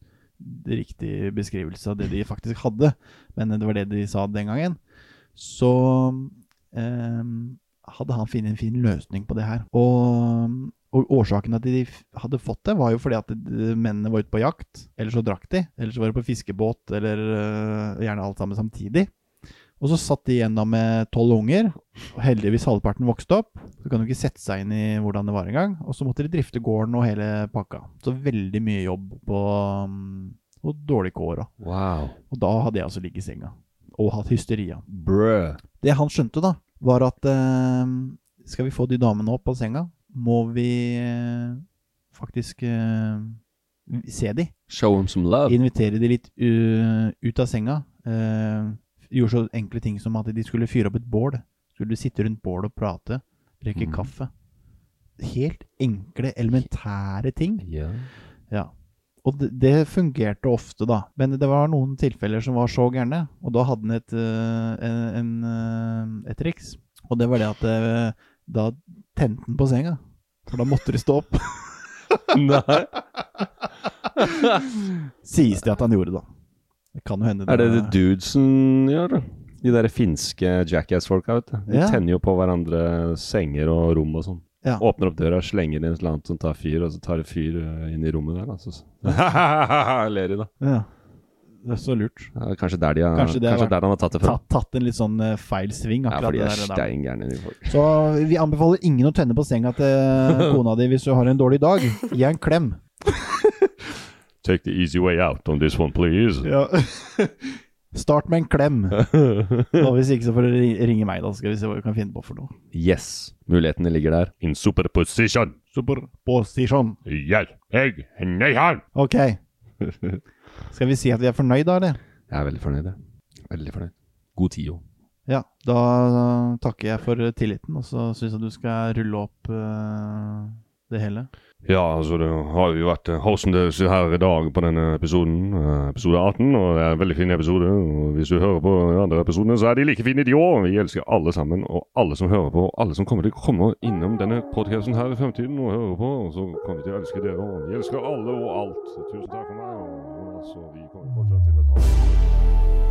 Speaker 3: riktig beskrivelse av det de faktisk hadde, men det var det de sa den gangen, så eh, hadde han funnet en fin løsning på det her. Og, og årsaken at de f- hadde fått det, var jo fordi at eh, mennene var ute på jakt, eller så drakk de, eller så var de på fiskebåt, eller eh, gjerne alt sammen samtidig. Og så satt de igjen da med tolv unger, og heldigvis halvparten vokste opp. Så kan du ikke sette seg inn i hvordan det var engang. Og så måtte de drifte gården og hele pakka. Så veldig mye jobb på um, Og dårlig kår òg.
Speaker 2: Wow.
Speaker 3: Og da hadde jeg altså ligget i senga. Og hatt hysteria.
Speaker 2: Brø.
Speaker 3: Det han skjønte, da, var at eh, skal vi få de damene opp av senga, må vi eh, faktisk eh, se de.
Speaker 2: Show him some love.
Speaker 3: Invitere de litt uh, ut av senga. Uh, gjorde så enkle ting som at de skulle fyre opp et bål. Skulle du sitte rundt bålet og prate, drikke
Speaker 2: Mm.
Speaker 3: kaffe. Helt enkle, elementære ting.
Speaker 2: Ja.
Speaker 3: Ja. Og det, det fungerte ofte, da. Men det var noen tilfeller som var så gærne, og da hadde han et, eh, en, en, eh, et triks. Og det var det at eh, da tente han på senga. For da måtte de stå opp.
Speaker 2: Nei.
Speaker 3: Sies det at han gjorde, da. Det kan jo hende
Speaker 2: Er det det dudesen gjør, da? De der finske jackass-folka, vet du. De
Speaker 3: Ja.
Speaker 2: tenner jo på hverandre senger og rom og sånn.
Speaker 3: Ja.
Speaker 2: Åpner opp døra, slenger inn et eller annet som tar fyr, og så tar det fyr eh, inn i rommet der. Altså. Ler de, da.
Speaker 3: Ja. Det er så lurt.
Speaker 2: Ja, kanskje der, de har,
Speaker 3: Kanskje
Speaker 2: kanskje
Speaker 3: det har vært-
Speaker 2: der han har tatt det fra.
Speaker 3: Tatt, tatt en litt sånn eh, feil sving,
Speaker 2: Ja,
Speaker 3: akkurat
Speaker 2: for de er
Speaker 3: det der. der.
Speaker 2: steingærne, de folk.
Speaker 3: Så eh, vi anbefaler ingen å tenne på senga til eh, kona di hvis du har en dårlig dag. Gi en klem.
Speaker 5: Take the easy way out on this one, please.
Speaker 3: Start med en klem. Og hvis ikke, så får du ri- ringe meg, da, så skal vi se hva vi kan finne på for noe.
Speaker 2: Yes, mulighetene ligger der.
Speaker 5: In superposition.
Speaker 3: Superposition.
Speaker 5: Yeah. Egg. Nei, han.
Speaker 3: Ok. Skal vi si at vi er fornøyd, da, eller?
Speaker 2: Jeg er veldig fornøyd, jeg. Veldig fornøyd. God tio.
Speaker 3: Ja. Da takker jeg for tilliten, og så syns jeg du skal rulle opp eh, det hele.
Speaker 5: Ja, altså det har jo vært eh, hostende her i dag på denne episoden, eh, episode 18, og det er en veldig fin episode. og Hvis du hører på de andre episodene, så er de like fine de òg. Vi elsker alle sammen, og alle som hører på, og alle som kommer til å komme innom denne podcasten her i fremtiden og høre på. Og så kommer vi til å elske dere òg. Vi elsker alle og alt. Tusen takk for meg og Jonas, og vi kommer fortsatt til å ta